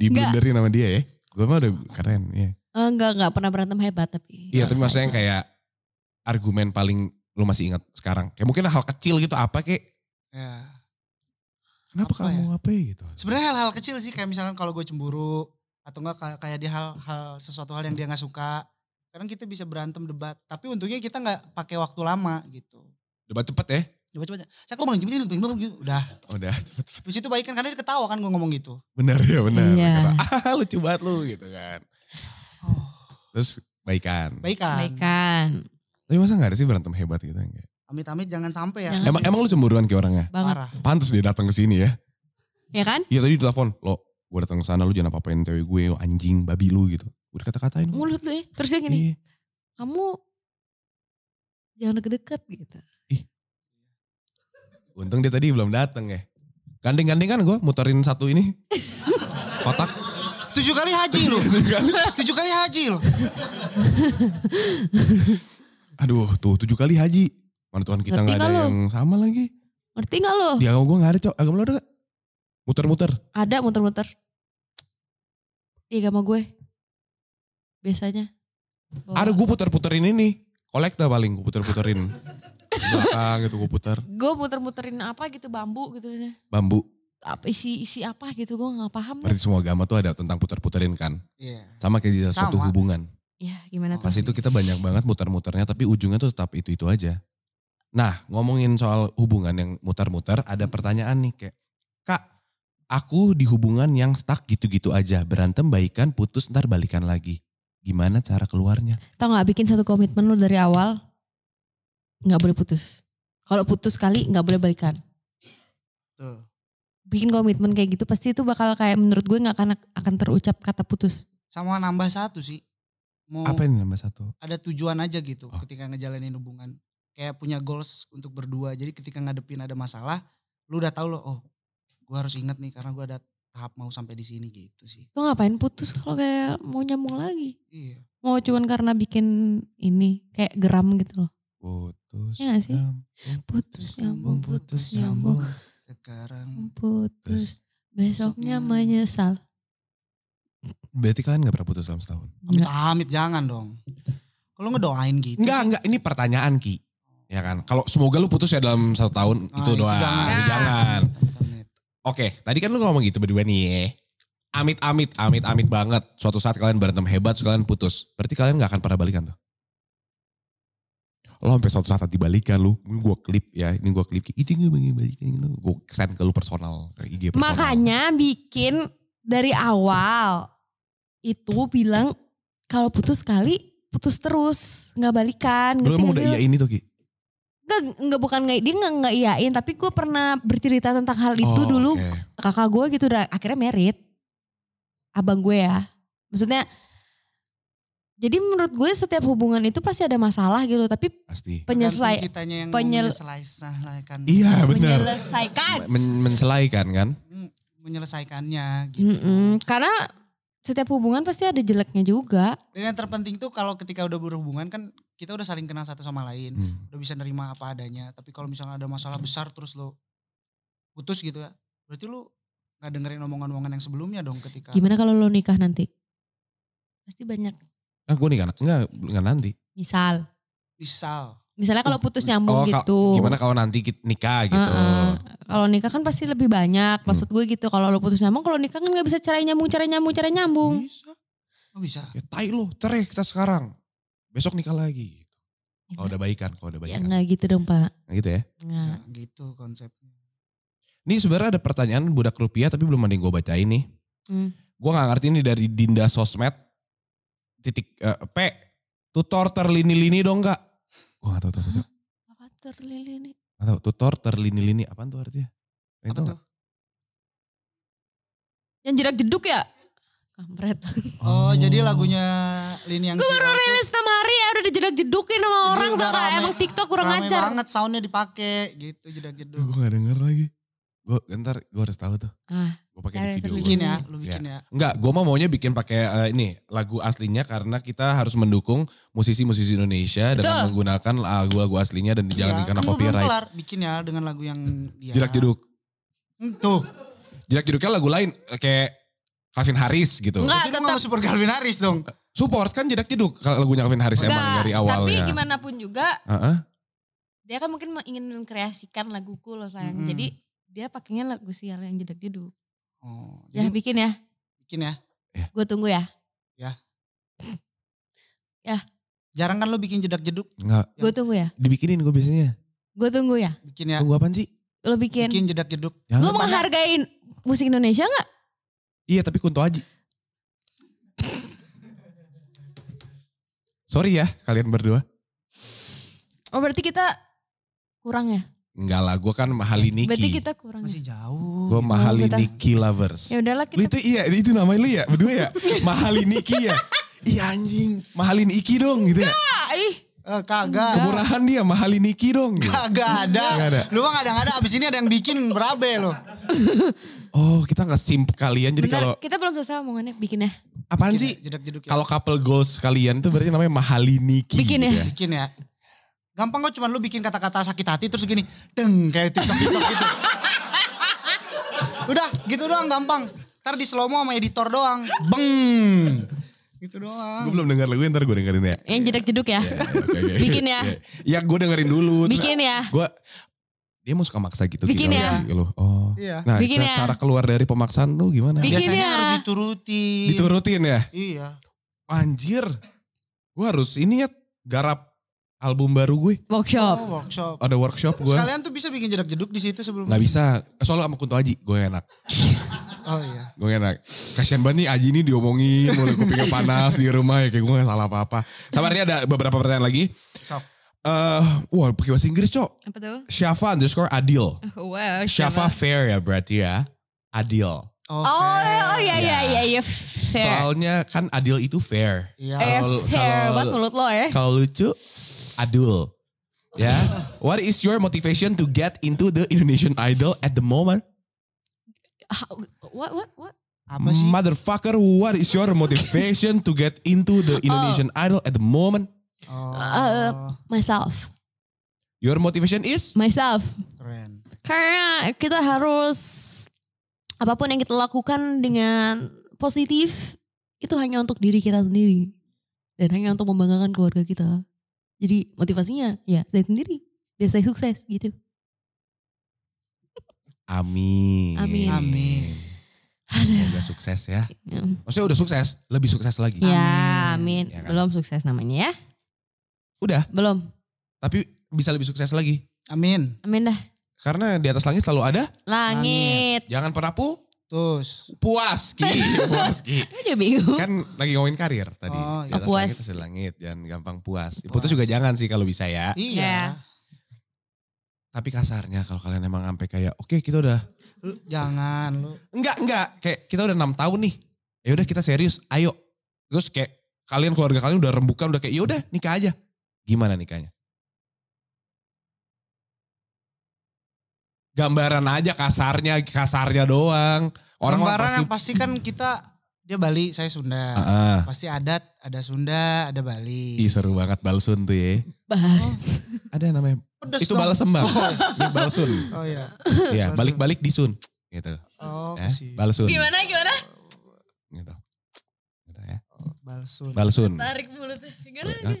[SPEAKER 1] Diblenderin sama dia ya. Gue mah udah keren. Iya.
[SPEAKER 3] Enggak, enggak Eh, pernah berantem hebat tapi.
[SPEAKER 1] Iya tapi
[SPEAKER 3] Biasa
[SPEAKER 1] maksudnya yang
[SPEAKER 3] aja.
[SPEAKER 1] kayak argumen paling lu masih ingat sekarang. Kayak mungkin hal kecil gitu apa kayak
[SPEAKER 2] Ya.
[SPEAKER 1] kenapa
[SPEAKER 2] Apa
[SPEAKER 1] kamu apa ya gitu.
[SPEAKER 2] sebenarnya hal-hal kecil sih kayak misalkan kalau gue cemburu atau enggak kayak, kayak dia hal-hal sesuatu hal yang dia nggak suka kadang kita bisa berantem debat tapi untungnya kita nggak pakai waktu lama gitu
[SPEAKER 1] Debat cepet ya. Oh,
[SPEAKER 2] coba coba saya kok ngomong gini, gini, gini, gini. udah
[SPEAKER 1] Udah cepet cepet.
[SPEAKER 2] terus itu baikan karena dia ketawa kan gue ngomong gitu
[SPEAKER 1] Benar ya benar.
[SPEAKER 3] Iya.
[SPEAKER 1] Kata, ah lucu banget lu gitu kan. Terus baikan.
[SPEAKER 2] baikan
[SPEAKER 3] Baikan.
[SPEAKER 1] Tapi masa gak ada sih berantem hebat gitu enggak?
[SPEAKER 2] amit-amit jangan sampai ya
[SPEAKER 3] Jangan.
[SPEAKER 1] Emang emang lu cemburuan ke orangnya?
[SPEAKER 3] Banget.
[SPEAKER 2] parah
[SPEAKER 1] Pantes dia datang ke sini ya.
[SPEAKER 3] Ya kan?
[SPEAKER 1] Iya tadi telepon, lo gue datang ke sana lu jangan apa-apain cewek gue, lu anjing, babi lu gitu. Gue kata-katain. lu.
[SPEAKER 3] Mulut lu ya. Terus dia gini,
[SPEAKER 1] Iya.
[SPEAKER 3] kamu jangan deket-deket gitu.
[SPEAKER 1] Untung dia tadi belum datang ya. Gandeng-gandeng kan gue muterin satu ini. Kotak.
[SPEAKER 2] tujuh kali haji loh tujuh kali haji loh
[SPEAKER 1] Aduh tuh tujuh kali haji. Mana Tuhan kita
[SPEAKER 3] Ngerti
[SPEAKER 1] gak ada
[SPEAKER 3] nggak lu? Oh.
[SPEAKER 1] yang sama lagi.
[SPEAKER 3] Ngerti gak lo?
[SPEAKER 1] Di agama gue gak ada cok. Agama lo ada gak? Muter-muter.
[SPEAKER 3] Ada muter-muter. Di agama gue. Biasanya. Bawa- Oh.
[SPEAKER 1] Ada gue puter-puterin ini. Kolekta paling gue puter-puterin. belakang gitu gue putar.
[SPEAKER 3] Gue muter-muterin apa gitu bambu gitu.
[SPEAKER 1] Bambu.
[SPEAKER 3] Apa, isi isi apa gitu gue nggak paham. deh.
[SPEAKER 1] Berarti semua agama tuh ada tentang putar-putarin kan.
[SPEAKER 2] Iya.
[SPEAKER 1] Sama kayak di satu
[SPEAKER 2] Sama.
[SPEAKER 1] hubungan.
[SPEAKER 3] Ya gimana
[SPEAKER 1] Pas
[SPEAKER 3] tuh?
[SPEAKER 1] itu kita banyak banget mutar-mutarnya tapi ujungnya tuh tetap itu-itu aja. Nah ngomongin soal hubungan yang mutar-mutar ada pertanyaan nih kayak. Kak aku di hubungan yang stuck gitu-gitu aja. Berantem baikan putus ntar balikan lagi. Gimana cara keluarnya?
[SPEAKER 3] Tau nggak bikin satu komitmen lu dari awal nggak boleh putus. Kalau putus kali nggak boleh balikan.
[SPEAKER 2] Tuh.
[SPEAKER 3] Bikin komitmen kayak gitu pasti itu bakal kayak menurut gue nggak akan akan terucap kata putus.
[SPEAKER 2] Sama nambah satu sih. Mau
[SPEAKER 1] Apa ini nambah satu?
[SPEAKER 2] ada tujuan aja gitu
[SPEAKER 1] Oh.
[SPEAKER 2] ketika ngejalanin hubungan. Kayak punya goals untuk berdua. Jadi ketika ngadepin ada masalah, lu udah tahu loh, oh gue harus inget nih karena gue ada tahap mau sampai di sini gitu sih.
[SPEAKER 3] Lo ngapain putus kalau kayak mau nyambung lagi?
[SPEAKER 2] Iya.
[SPEAKER 3] Mau cuman karena bikin ini kayak geram gitu loh.
[SPEAKER 1] Putus.
[SPEAKER 3] Iya nggak sih?
[SPEAKER 1] nyambung,
[SPEAKER 3] Putus nyambung, putus nyambung,
[SPEAKER 2] Sekarang
[SPEAKER 3] putus. Besoknya
[SPEAKER 2] Besoknya-
[SPEAKER 3] menyesal.
[SPEAKER 1] Berarti kalian gak pernah putus dalam setahun?
[SPEAKER 3] Enggak.
[SPEAKER 2] amit-amit jangan dong. Kalau ngedoain gitu.
[SPEAKER 1] Enggak, enggak. Ini pertanyaan Ki. Ya kan? Kalau semoga lu putus ya dalam satu tahun
[SPEAKER 2] Ah,
[SPEAKER 1] itu doa.
[SPEAKER 2] jangan.
[SPEAKER 1] Jangan.
[SPEAKER 2] Amit-amit.
[SPEAKER 1] Oke, tadi kan lu ngomong gitu berdua nih. Amit-amit, amit-amit banget. Suatu saat kalian berantem hebat, terus kalian putus. Berarti kalian gak akan pernah balikan tuh. Lo sampai suatu saat nanti balikan lu. Ini gue klip ya, ini gue klip. Ki. Itu gak pengen balikan lu. Gue send ke lu personal. Ke IG personal.
[SPEAKER 3] Makanya bikin dari awal itu bilang kalau putus kali putus terus nggak balikan.
[SPEAKER 1] Lu
[SPEAKER 3] ngerti
[SPEAKER 1] emang
[SPEAKER 3] nggak
[SPEAKER 1] udah
[SPEAKER 3] sih lo?
[SPEAKER 1] iya ini tuh Ki?
[SPEAKER 3] Nggak, nggak, bukan nggak dia nggak nggak iyain tapi gue pernah bercerita tentang hal itu
[SPEAKER 1] Oh,
[SPEAKER 3] dulu
[SPEAKER 1] oke.
[SPEAKER 3] kakak gue gitu udah akhirnya merit abang gue ya maksudnya jadi menurut gue setiap hubungan itu pasti ada masalah gitu tapi
[SPEAKER 1] Pasti.
[SPEAKER 3] penyesuai
[SPEAKER 2] Tergantung kitanya yang
[SPEAKER 3] penyel-
[SPEAKER 2] menyelesaikan
[SPEAKER 1] Iya benar.
[SPEAKER 3] menyelesaikan
[SPEAKER 1] Men- menselaikan kan?
[SPEAKER 2] Hmm, menyelesaikannya gitu.
[SPEAKER 3] Mm-mm. karena setiap hubungan pasti ada jeleknya juga
[SPEAKER 2] Dan yang terpenting tuh kalau ketika udah berhubungan kan kita udah saling kenal satu sama lain,
[SPEAKER 1] Hmm.
[SPEAKER 2] udah bisa nerima apa adanya. Tapi kalau misalnya ada masalah besar terus lo putus gitu ya, berarti lo nggak dengerin omongan-omongan yang sebelumnya dong ketika
[SPEAKER 3] gimana kalau lo nikah nanti pasti banyak
[SPEAKER 1] Ah gue nih kan, enggak, enggak nanti.
[SPEAKER 3] misal
[SPEAKER 2] misal
[SPEAKER 3] misalnya kalau putus
[SPEAKER 1] Oh,
[SPEAKER 3] nyambung
[SPEAKER 1] ka-
[SPEAKER 3] gitu
[SPEAKER 1] Gimana kalau nanti kita nikah gitu.
[SPEAKER 3] Heeh. Kalau nikah kan pasti lebih banyak.
[SPEAKER 1] Hmm.
[SPEAKER 3] Maksud gue gitu. Kalau lo putus nyambung, kalau nikah kan nggak bisa cerai nyambung, cerai nyambung, cerai nyambung.
[SPEAKER 1] Bisa.
[SPEAKER 2] lo bisa.
[SPEAKER 1] Ya tai lo, cerai kita sekarang. Besok nikah lagi. Kalau udah baikan, kalau udah
[SPEAKER 3] ya
[SPEAKER 1] baikan.
[SPEAKER 3] nggak gitu dong pak.
[SPEAKER 1] Nah, gitu ya.
[SPEAKER 3] Nggak.
[SPEAKER 2] Nah, gitu konsepnya.
[SPEAKER 1] Ini sebenarnya ada pertanyaan budak rupiah tapi belum ada yang gue bacain nih.
[SPEAKER 3] Hmm.
[SPEAKER 1] Gue gak ngerti ini dari Dinda Sosmed. Titik eh, P. Tutor terlini-lini dong kak. Gue gak tau tuh. Gak
[SPEAKER 3] Apa terlili nih?
[SPEAKER 1] tau. Tutor terlini-lini apaan tuh artinya? Kalian
[SPEAKER 2] Apa
[SPEAKER 1] tau
[SPEAKER 2] tuh?
[SPEAKER 1] nggak?
[SPEAKER 3] Yang jedak jeduk ya? Kampret.
[SPEAKER 2] Oh, jadi lagunya Lini yang
[SPEAKER 3] gue baru
[SPEAKER 2] Silau tuh
[SPEAKER 3] rilis enam hari ya udah dijedak jedukin sama
[SPEAKER 2] Ini
[SPEAKER 3] orang
[SPEAKER 2] udah
[SPEAKER 3] tuh kak.
[SPEAKER 2] rame-
[SPEAKER 3] Emang TikTok kurang
[SPEAKER 2] rame
[SPEAKER 3] ajar.
[SPEAKER 2] banget soundnya dipakai gitu
[SPEAKER 1] Duh,
[SPEAKER 2] jedak-jeduk.
[SPEAKER 1] gue gak denger lagi. Gue ntar gue harus tahu tuh.
[SPEAKER 3] Ah,
[SPEAKER 1] Gue pakai
[SPEAKER 3] cari
[SPEAKER 1] di video.
[SPEAKER 3] terlini.
[SPEAKER 2] Bikin ya,
[SPEAKER 1] Iya.
[SPEAKER 2] lu bikin ya.
[SPEAKER 1] Enggak, gue mah maunya bikin pakai eh, ini lagu aslinya karena kita harus mendukung musisi-musisi Indonesia dengan
[SPEAKER 3] Betul.
[SPEAKER 1] menggunakan lagu-lagu aslinya dan jangan
[SPEAKER 2] Iya,
[SPEAKER 1] karena
[SPEAKER 2] kan lu belum
[SPEAKER 1] copyright.
[SPEAKER 2] kelar. bikin ya dengan lagu yang dia.
[SPEAKER 3] Iya.
[SPEAKER 1] Jerak jeduk.
[SPEAKER 2] Hmm, Tuh.
[SPEAKER 1] Jerak jeduknya lagu lain eh, kayak Calvin Harris gitu.
[SPEAKER 3] Enggak,
[SPEAKER 2] Itu
[SPEAKER 3] tetap.
[SPEAKER 2] mah super Calvin Harris dong.
[SPEAKER 1] Support kan jerak jeduk kalau lagunya Calvin Harris emang
[SPEAKER 3] Nggak,
[SPEAKER 1] dari ya. awalnya.
[SPEAKER 3] Tapi gimana pun juga
[SPEAKER 1] Heeh.
[SPEAKER 3] dia kan mungkin ingin mengkreasikan laguku loh sayang.
[SPEAKER 2] Mm-mm.
[SPEAKER 3] Jadi dia pakainya lagu sial yang jedak jeduk.
[SPEAKER 2] Oh,
[SPEAKER 3] Ya
[SPEAKER 2] jadi
[SPEAKER 3] bikin ya.
[SPEAKER 2] bikin ya.
[SPEAKER 3] Gue tunggu ya.
[SPEAKER 2] Jarang kan lu bikin jedak-jeduk,
[SPEAKER 1] Enggak,
[SPEAKER 3] Gue tunggu ya.
[SPEAKER 1] dibikinin gue biasanya.
[SPEAKER 3] Gue tunggu ya.
[SPEAKER 2] bikin ya.
[SPEAKER 1] Tunggu apaan sih?
[SPEAKER 3] Lo bikin.
[SPEAKER 2] Bikin jedak-jeduk.
[SPEAKER 3] Lo
[SPEAKER 1] Jangan.
[SPEAKER 3] menghargai musik Indonesia nggak?
[SPEAKER 1] Iya, tapi Kunto Aji. Sorry ya kalian berdua.
[SPEAKER 3] Oh berarti kita kurang ya?
[SPEAKER 1] Enggak lah, gue kan mahali
[SPEAKER 3] Berarti
[SPEAKER 1] Niki.
[SPEAKER 3] kita kurang. ya?
[SPEAKER 2] Masih jauh.
[SPEAKER 1] Gue mahali
[SPEAKER 3] kita-
[SPEAKER 1] Niki lovers.
[SPEAKER 3] Ya udahlah
[SPEAKER 1] Lu
[SPEAKER 3] kita
[SPEAKER 1] itu iya, itu namanya lu ya, berdua ya. Mahalin Iki ya. Iya anjing, mahalin Iki dong gitu ya.
[SPEAKER 3] Ah, ih
[SPEAKER 2] Eh, kagak.
[SPEAKER 1] Kemurahan dia, mahalin Iki dong.
[SPEAKER 3] Iya.
[SPEAKER 1] Gitu.
[SPEAKER 2] Kagak
[SPEAKER 1] Nggak ada.
[SPEAKER 2] ada. Lu mah kadang-kadang abis ini ada yang bikin berabe lo.
[SPEAKER 1] Oh kita gak simp kalian, jadi
[SPEAKER 3] bentar,
[SPEAKER 1] kalau
[SPEAKER 3] kita belum selesai omongannya bikin ya.
[SPEAKER 1] apaan
[SPEAKER 2] Bikin
[SPEAKER 1] sih?
[SPEAKER 2] ya, Jedak-jeduk ya.
[SPEAKER 1] Kalau couple goals kalian itu berarti namanya mahalin Iki.
[SPEAKER 3] Bikin
[SPEAKER 1] gitu
[SPEAKER 3] ya.
[SPEAKER 2] bikin ya. Gampang kok cuman lu bikin kata-kata sakit hati terus gini. Deng kayak tiktok tiktok gitu. Udah gitu doang gampang. Ntar di slow mo sama editor doang. Beng. Itu
[SPEAKER 1] Gue
[SPEAKER 2] doang.
[SPEAKER 1] belum denger lagu ntar gue dengerin ya.
[SPEAKER 3] Yang jedek-jeduk ya.
[SPEAKER 1] Ya, oke, oke.
[SPEAKER 3] Bikin ya.
[SPEAKER 1] Ya gue dengerin dulu. Terus
[SPEAKER 3] Bikin ya.
[SPEAKER 1] gue dia mau suka maksa gitu.
[SPEAKER 3] Bikin
[SPEAKER 1] Ki,
[SPEAKER 3] ya.
[SPEAKER 1] kalau di lu. Oh.
[SPEAKER 2] Iya.
[SPEAKER 1] Nah ca-
[SPEAKER 3] Bikin ya.
[SPEAKER 1] cara keluar dari pemaksaan tuh gimana?
[SPEAKER 3] Bikin
[SPEAKER 2] Biasanya
[SPEAKER 3] ya.
[SPEAKER 2] harus dituruti.
[SPEAKER 1] Diturutin ya.
[SPEAKER 2] Iya.
[SPEAKER 1] Anjir. Gue harus ini ya garap album baru gue.
[SPEAKER 3] Workshop.
[SPEAKER 2] Oh, workshop.
[SPEAKER 1] Ada workshop gue.
[SPEAKER 2] Sekalian tuh bisa bikin jedak-jeduk di situ sebelum.
[SPEAKER 1] Gak bisa. Soalnya sama Kunto Aji gue enak.
[SPEAKER 2] Oh iya.
[SPEAKER 1] Gue enak. Kasian banget nih Aji ini diomongin. Mulai kupingnya panas di rumah ya. Kayak gue gak salah apa-apa. Sama ini ada beberapa pertanyaan lagi.
[SPEAKER 2] Sok.
[SPEAKER 1] Eh, wah pakai bahasa Inggris cok.
[SPEAKER 3] Apa tuh?
[SPEAKER 1] Syafa underscore Adil.
[SPEAKER 3] Wow.
[SPEAKER 1] Syafa fair ya berarti ya. Adil.
[SPEAKER 2] Oh,
[SPEAKER 3] Oh,
[SPEAKER 2] fair.
[SPEAKER 3] oh iya
[SPEAKER 1] Ya.
[SPEAKER 3] iya iya iya fair.
[SPEAKER 1] Soalnya kan Adil itu fair.
[SPEAKER 2] Iya.
[SPEAKER 3] Eh,
[SPEAKER 1] Kalau-
[SPEAKER 3] fair
[SPEAKER 1] kalau-
[SPEAKER 3] buat mulut lo ya.
[SPEAKER 1] Kalau lucu, Adul. Ya. What is your motivation to get into the Indonesian Idol at the moment?
[SPEAKER 3] How- Ah, What what what?
[SPEAKER 2] Apa sih?
[SPEAKER 1] Motherfucker, what is your motivation to get into the
[SPEAKER 3] Oh.
[SPEAKER 1] Indonesian Idol at the moment?
[SPEAKER 2] Oh,
[SPEAKER 1] Ah.
[SPEAKER 3] Eh, myself.
[SPEAKER 1] Your motivation is
[SPEAKER 3] Myself.
[SPEAKER 2] keren.
[SPEAKER 3] Karena kita harus apapun yang kita lakukan dengan positif itu hanya untuk diri kita sendiri dan hanya untuk membanggakan keluarga kita. Jadi motivasinya ya saya sendiri biar saya sukses gitu.
[SPEAKER 1] Amin.
[SPEAKER 3] Amin.
[SPEAKER 2] Amin.
[SPEAKER 3] Aduh.
[SPEAKER 1] Semoga sukses ya. Maksudnya udah sukses, lebih sukses lagi.
[SPEAKER 3] Ya,
[SPEAKER 1] Amin.
[SPEAKER 3] amin.
[SPEAKER 1] Ya kan?
[SPEAKER 3] Belum sukses namanya ya.
[SPEAKER 1] Udah,
[SPEAKER 3] Belum.
[SPEAKER 1] tapi bisa lebih sukses lagi.
[SPEAKER 2] Amin.
[SPEAKER 3] Amin dah.
[SPEAKER 1] Karena di atas langit selalu ada.
[SPEAKER 3] Langit.
[SPEAKER 1] Jangan pernah pu
[SPEAKER 2] Terus.
[SPEAKER 1] puas ki, puas ki.
[SPEAKER 3] Aku juga bingung.
[SPEAKER 1] kan lagi ngomongin karir tadi.
[SPEAKER 2] Oh,
[SPEAKER 1] Di
[SPEAKER 2] iya.
[SPEAKER 1] atas
[SPEAKER 3] Puas.
[SPEAKER 1] langit atas langit jangan gampang puas. Ya,
[SPEAKER 2] Puas.
[SPEAKER 1] Putus juga jangan sih kalau bisa ya.
[SPEAKER 2] Iya.
[SPEAKER 3] Ya.
[SPEAKER 1] Tapi kasarnya kalau kalian emang sampai kayak oke kita udah
[SPEAKER 2] Lu jangan lu.
[SPEAKER 1] enggak enggak kayak kita udah enam tahun nih. Ya udah kita serius, ayo. Terus kayak kalian keluarga kalian udah rembukan udah kayak ya udah nikah aja. Gimana nikahnya? Gambaran aja kasarnya, kasarnya doang.
[SPEAKER 2] Orang
[SPEAKER 1] Orang-orang
[SPEAKER 2] Barang
[SPEAKER 1] pasti,
[SPEAKER 2] yang pasti kan kita dia Bali, saya Sunda.
[SPEAKER 1] Ah, ah.
[SPEAKER 2] Pasti adat, ada Sunda, ada Bali.
[SPEAKER 1] Ih, seru banget balsun tuh ya.
[SPEAKER 3] Bah.
[SPEAKER 1] Ada namanya.
[SPEAKER 2] Pedes
[SPEAKER 1] itu
[SPEAKER 2] dong.
[SPEAKER 1] balsem bang. Ini balsun.
[SPEAKER 2] iya. Oh iya.
[SPEAKER 1] Iya,
[SPEAKER 2] Balsun.
[SPEAKER 1] balik-balik disun. Gitu.
[SPEAKER 2] Oh,
[SPEAKER 1] Ya,
[SPEAKER 2] sih.
[SPEAKER 1] balsun.
[SPEAKER 4] Gimana gimana?
[SPEAKER 1] Gitu. Gitu ya.
[SPEAKER 2] oh, Balsun.
[SPEAKER 1] Balsun.
[SPEAKER 4] Tarik mulutnya. Gimana?
[SPEAKER 1] Hah?